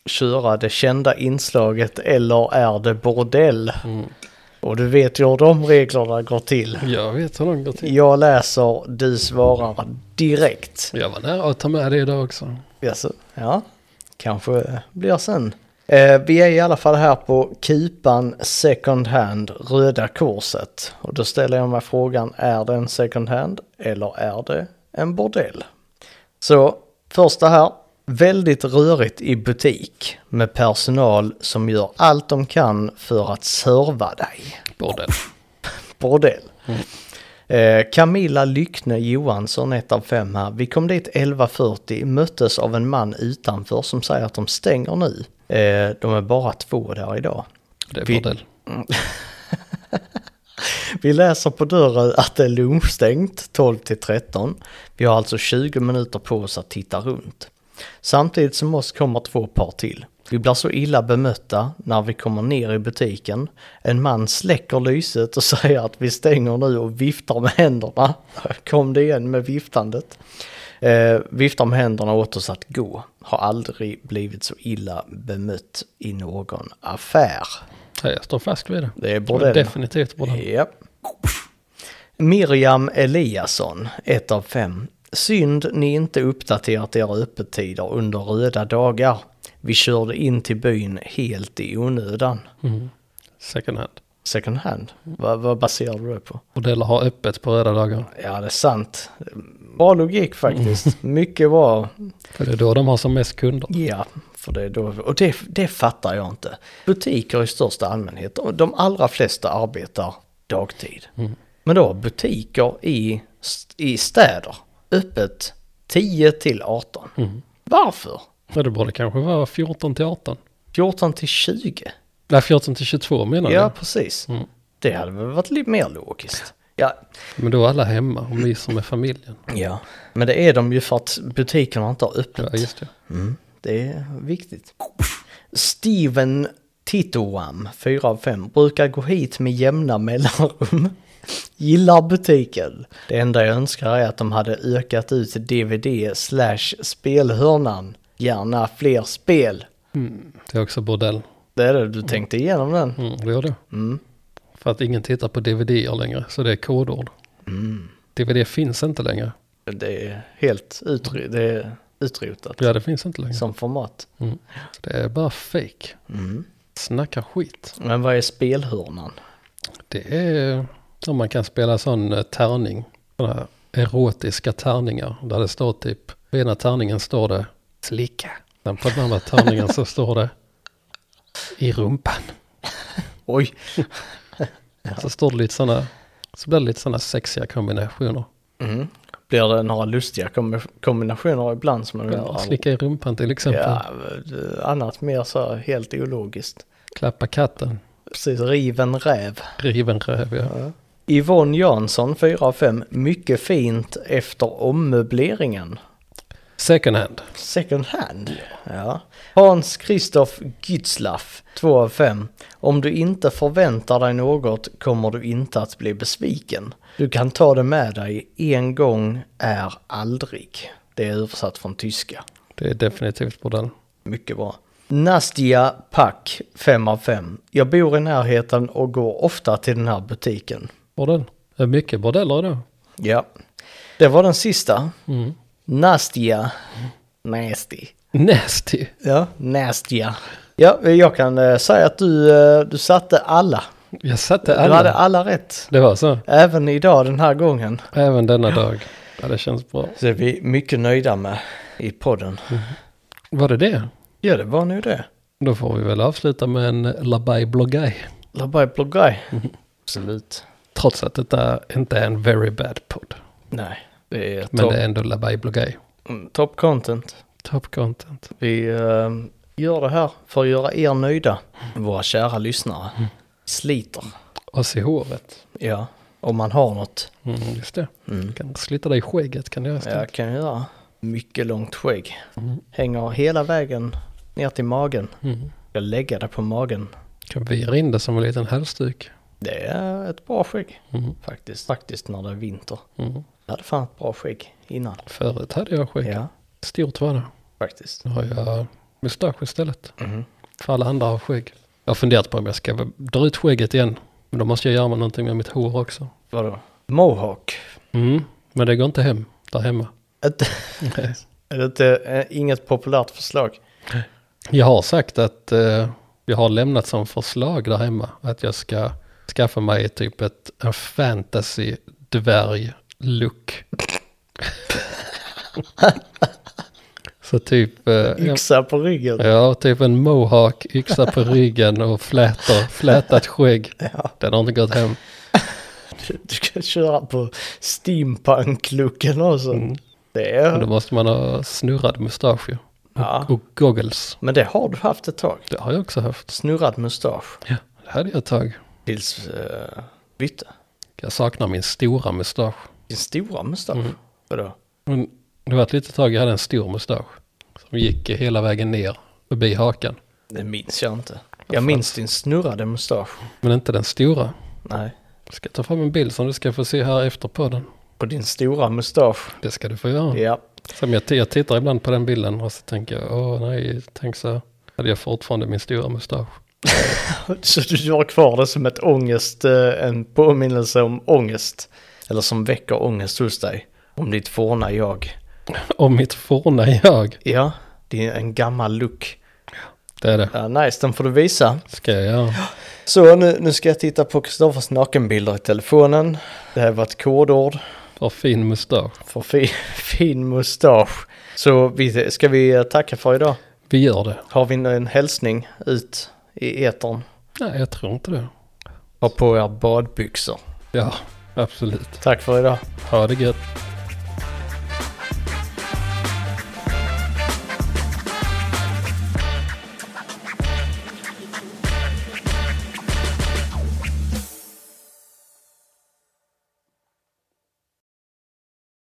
[SPEAKER 2] köra det kända inslaget eller är det bordell? Och du vet ju hur de reglerna går till.
[SPEAKER 1] Jag vet hur de går till.
[SPEAKER 2] Jag läser, du svarar direkt.
[SPEAKER 1] Jag var nära att ta med det idag också.
[SPEAKER 2] Jaså? Ja, kanske blir sen. Eh, vi är i alla fall här på Kupan Second Hand, Röda Korset. Och då ställer jag mig frågan, är det en second hand eller är det en bordell? Så första här, väldigt rörigt i butik med personal som gör allt de kan för att serva dig
[SPEAKER 1] Bordell.
[SPEAKER 2] bordell. Eh, Camilla Lyckne Johansson, 1 av 5 här. Vi kom dit 11.40, möttes av en man utanför som säger att de stänger nu. Eh, de är bara två där idag.
[SPEAKER 1] Det är
[SPEAKER 2] Vi-
[SPEAKER 1] bordell.
[SPEAKER 2] Vi läser på dörren att det är lunchstängt 12 till 13. Vi har alltså 20 minuter på oss att titta runt. Samtidigt som oss kommer två par till. Vi blir så illa bemötta när vi kommer ner i butiken. En man släcker lyset och <laughs> säger att vi stänger nu och viftar med händerna. Där Kom det igen med viftandet. Eh, viftar med händerna åt oss att gå. Har aldrig blivit så illa bemött i någon affär.
[SPEAKER 1] Nej, jag står fast vid det.
[SPEAKER 2] Det är
[SPEAKER 1] Det är
[SPEAKER 2] bordellen.
[SPEAKER 1] definitivt bordell.
[SPEAKER 2] Ja. Miriam Eliasson, 1 av 5. Synd ni inte uppdaterat era öppettider under röda dagar. Vi körde in till byn helt i onödan.
[SPEAKER 1] Second hand.
[SPEAKER 2] Second hand, vad, vad baserar du det på?
[SPEAKER 1] Bordeller har öppet på röda dagar.
[SPEAKER 2] Ja, det är sant. Bra logik faktiskt. Mycket bra.
[SPEAKER 1] För det är då de har som mest kunder.
[SPEAKER 2] Ja, för det är då, och det, det fattar jag inte. Butiker i största allmänhet, och de allra flesta arbetar dagtid.
[SPEAKER 1] Mm.
[SPEAKER 2] Men då har butiker i, st- i städer öppet 10 till 18.
[SPEAKER 1] Mm.
[SPEAKER 2] Varför?
[SPEAKER 1] Ja, det borde kanske vara 14 till 18.
[SPEAKER 2] 14 till 20?
[SPEAKER 1] Nej, 14 till 22 menar
[SPEAKER 2] Ja,
[SPEAKER 1] jag.
[SPEAKER 2] precis.
[SPEAKER 1] Mm.
[SPEAKER 2] Det hade väl varit lite mer logiskt. Ja,
[SPEAKER 1] Men då är alla hemma och myser med familjen.
[SPEAKER 2] ja, men det är de ju för att butikerna inte har öppet.
[SPEAKER 1] Ja, just det.
[SPEAKER 2] Det är viktigt. Steven Titoam, 4 av 5, brukar gå hit med jämna mellanrum. <laughs> Gillar butiken. Det enda jag önskar är att de hade ökat ut DVD slash spelhörnan. Gärna fler spel.
[SPEAKER 1] Det är också bordell.
[SPEAKER 2] Det är det, du tänkte igenom den.
[SPEAKER 1] Mm, det gör det. För att ingen tittar på dvd längre, så det är kodord. Mm. Dvd finns inte längre.
[SPEAKER 2] Det är helt utry- det är utrotat
[SPEAKER 1] Ja, det finns inte längre. Mm.
[SPEAKER 2] som format.
[SPEAKER 1] Det är bara fake. Snacka skit.
[SPEAKER 2] Men vad är spelhörnan?
[SPEAKER 1] Det är om man kan spela sån eh, tärning. Såna här erotiska tärningar. Där det står typ, på ena tärningen står det slicka. Sen på den andra tärningen så står det i rumpan.
[SPEAKER 2] Oj,
[SPEAKER 1] Så står det lite sådana, så blir det lite sådana sexiga kombinationer.
[SPEAKER 2] blir det några lustiga kombi- kombinationer ibland som man
[SPEAKER 1] Ja,
[SPEAKER 2] undrar?
[SPEAKER 1] slicka i rumpan till exempel.
[SPEAKER 2] Ja, eh, annat mer så här helt ologiskt.
[SPEAKER 1] Klappa katten.
[SPEAKER 2] Precis, riven räv.
[SPEAKER 1] Riv en röv, ja.
[SPEAKER 2] Yvonne Jansson, 4 av 5, mycket fint efter ommöbleringen.
[SPEAKER 1] Second hand.
[SPEAKER 2] Second hand. Ja. Hans Christoph Gützlaff, 2 av 5. Om du inte förväntar dig något kommer du inte att bli besviken. Du kan ta det med dig, en gång är aldrig. Det är översatt från tyska.
[SPEAKER 1] Det är definitivt bordell.
[SPEAKER 2] Mycket bra. Nastia Pack, 5 av 5. Jag bor i närheten och går ofta till den här butiken.
[SPEAKER 1] Bordell. Det är mycket bordeller då.
[SPEAKER 2] Ja. Det var den sista. Nastia. Nasty.
[SPEAKER 1] Nasty.
[SPEAKER 2] Ja, Nastia. Ja, jag kan eh, säga att du, eh, du satte alla.
[SPEAKER 1] Jag satte
[SPEAKER 2] Du hade
[SPEAKER 1] alla.
[SPEAKER 2] alla rätt.
[SPEAKER 1] Det var så.
[SPEAKER 2] Även idag den här gången.
[SPEAKER 1] Även denna dag. Ja, det känns bra.
[SPEAKER 2] Så är vi mycket nöjda med i podden.
[SPEAKER 1] Var det det?
[SPEAKER 2] Ja, det var nu det.
[SPEAKER 1] Då får vi väl avsluta med en Labai Blogaj.
[SPEAKER 2] Labai Blogaj. Mm. Absolut.
[SPEAKER 1] Trots att detta inte är en very bad podd.
[SPEAKER 2] Nej, det är
[SPEAKER 1] Men
[SPEAKER 2] top,
[SPEAKER 1] det är ändå Labai Blogaj.
[SPEAKER 2] top content.
[SPEAKER 1] Top content.
[SPEAKER 2] Vi eh, gör det här för att göra er nöjda, våra kära lyssnare. Sliter.
[SPEAKER 1] Oss i håret.
[SPEAKER 2] Ja, om man har något.
[SPEAKER 1] Mm, just det. Kan slita dig i skägget kan jag göra.
[SPEAKER 2] Jag
[SPEAKER 1] istället.
[SPEAKER 2] kan göra mycket långt skägg. Hänger hela vägen ner till magen. Jag lägger det på magen.
[SPEAKER 1] Mm. Kan vira in det som en liten halsduk.
[SPEAKER 2] Det är ett bra skägg faktiskt. Faktiskt när det är vinter.
[SPEAKER 1] Mm.
[SPEAKER 2] Jag hade fan ett bra skägg innan.
[SPEAKER 1] Förut hade jag skägg.
[SPEAKER 2] Ja,
[SPEAKER 1] Stort var det.
[SPEAKER 2] faktiskt.
[SPEAKER 1] Nu har jag mustasch istället. För alla andra har skägg. Jag har funderat på om jag ska dra ut skägget igen. Men då måste jag göra någonting med mitt hår också.
[SPEAKER 2] Vadå? Mohawk.
[SPEAKER 1] Mm. Men det går inte hem där hemma.
[SPEAKER 2] Ett, <laughs> är det inte, eh, inget populärt förslag?
[SPEAKER 1] <laughs> Jag har sagt att eh, jag har lämnat som förslag där hemma att jag ska skaffa mig typ ett, en fantasy dvärg
[SPEAKER 2] <laughs>
[SPEAKER 1] look. Så typ, eh, ja,
[SPEAKER 2] Yxa på ryggen.
[SPEAKER 1] ja, typ en mohawk, yxa
[SPEAKER 2] <laughs>
[SPEAKER 1] på ryggen och flätor, flätat skägg. Den har inte gått hem.
[SPEAKER 2] <laughs> Du kan köra på steampunk-looken också. Det är...
[SPEAKER 1] Men Mm. då måste man ha snurrad mustasch ju.
[SPEAKER 2] Ja.
[SPEAKER 1] Och goggles.
[SPEAKER 2] Men det har du haft ett tag.
[SPEAKER 1] Det har jag också haft.
[SPEAKER 2] Snurrad mustasch. eh,
[SPEAKER 1] Ja, det hade jag ett tag. Jag saknar min stora mustasch.
[SPEAKER 2] Din stora mustasch.
[SPEAKER 1] Mm.
[SPEAKER 2] Vadå?
[SPEAKER 1] Men det var ett litet tag jag hade en stor mustasch. Som gick hela vägen ner förbi hakan.
[SPEAKER 2] Det minns jag inte. Jag minns din snurrade mustasch.
[SPEAKER 1] Men inte den stora.
[SPEAKER 2] Nej.
[SPEAKER 1] Jag ska ta fram en bild som du ska få se här efter podden.
[SPEAKER 2] På din stora mustasch.
[SPEAKER 1] Det ska du få göra.
[SPEAKER 2] Ja. <laughs>
[SPEAKER 1] Som jag, jag tittar ibland på den bilden och så tänker jag, åh nej, tänk så här. Hade jag fortfarande min stora mustasch? <laughs>
[SPEAKER 2] Så du har kvar det som ett ångest, eh, en påminnelse om ångest. Eller som väcker ångest hos dig. Om ditt forna jag.
[SPEAKER 1] Om mitt forna jag.
[SPEAKER 2] Ja, det är en gammal look.
[SPEAKER 1] Det är det.
[SPEAKER 2] Ja, nice, den får du visa.
[SPEAKER 1] Ska jag göra.
[SPEAKER 2] Så nu, nu ska jag titta på Kristoffers nakenbilder i telefonen. Det här var ett kodord
[SPEAKER 1] För fin mustasch.
[SPEAKER 2] för fi, <laughs> fin mustasch. Så vi, ska vi tacka för idag?
[SPEAKER 1] Vi gör det.
[SPEAKER 2] Har vi en hälsning ut i etern?
[SPEAKER 1] Nej, jag tror inte det.
[SPEAKER 2] Ha på er badbyxor.
[SPEAKER 1] Ja, absolut.
[SPEAKER 2] Tack för idag.
[SPEAKER 1] Ha det gött.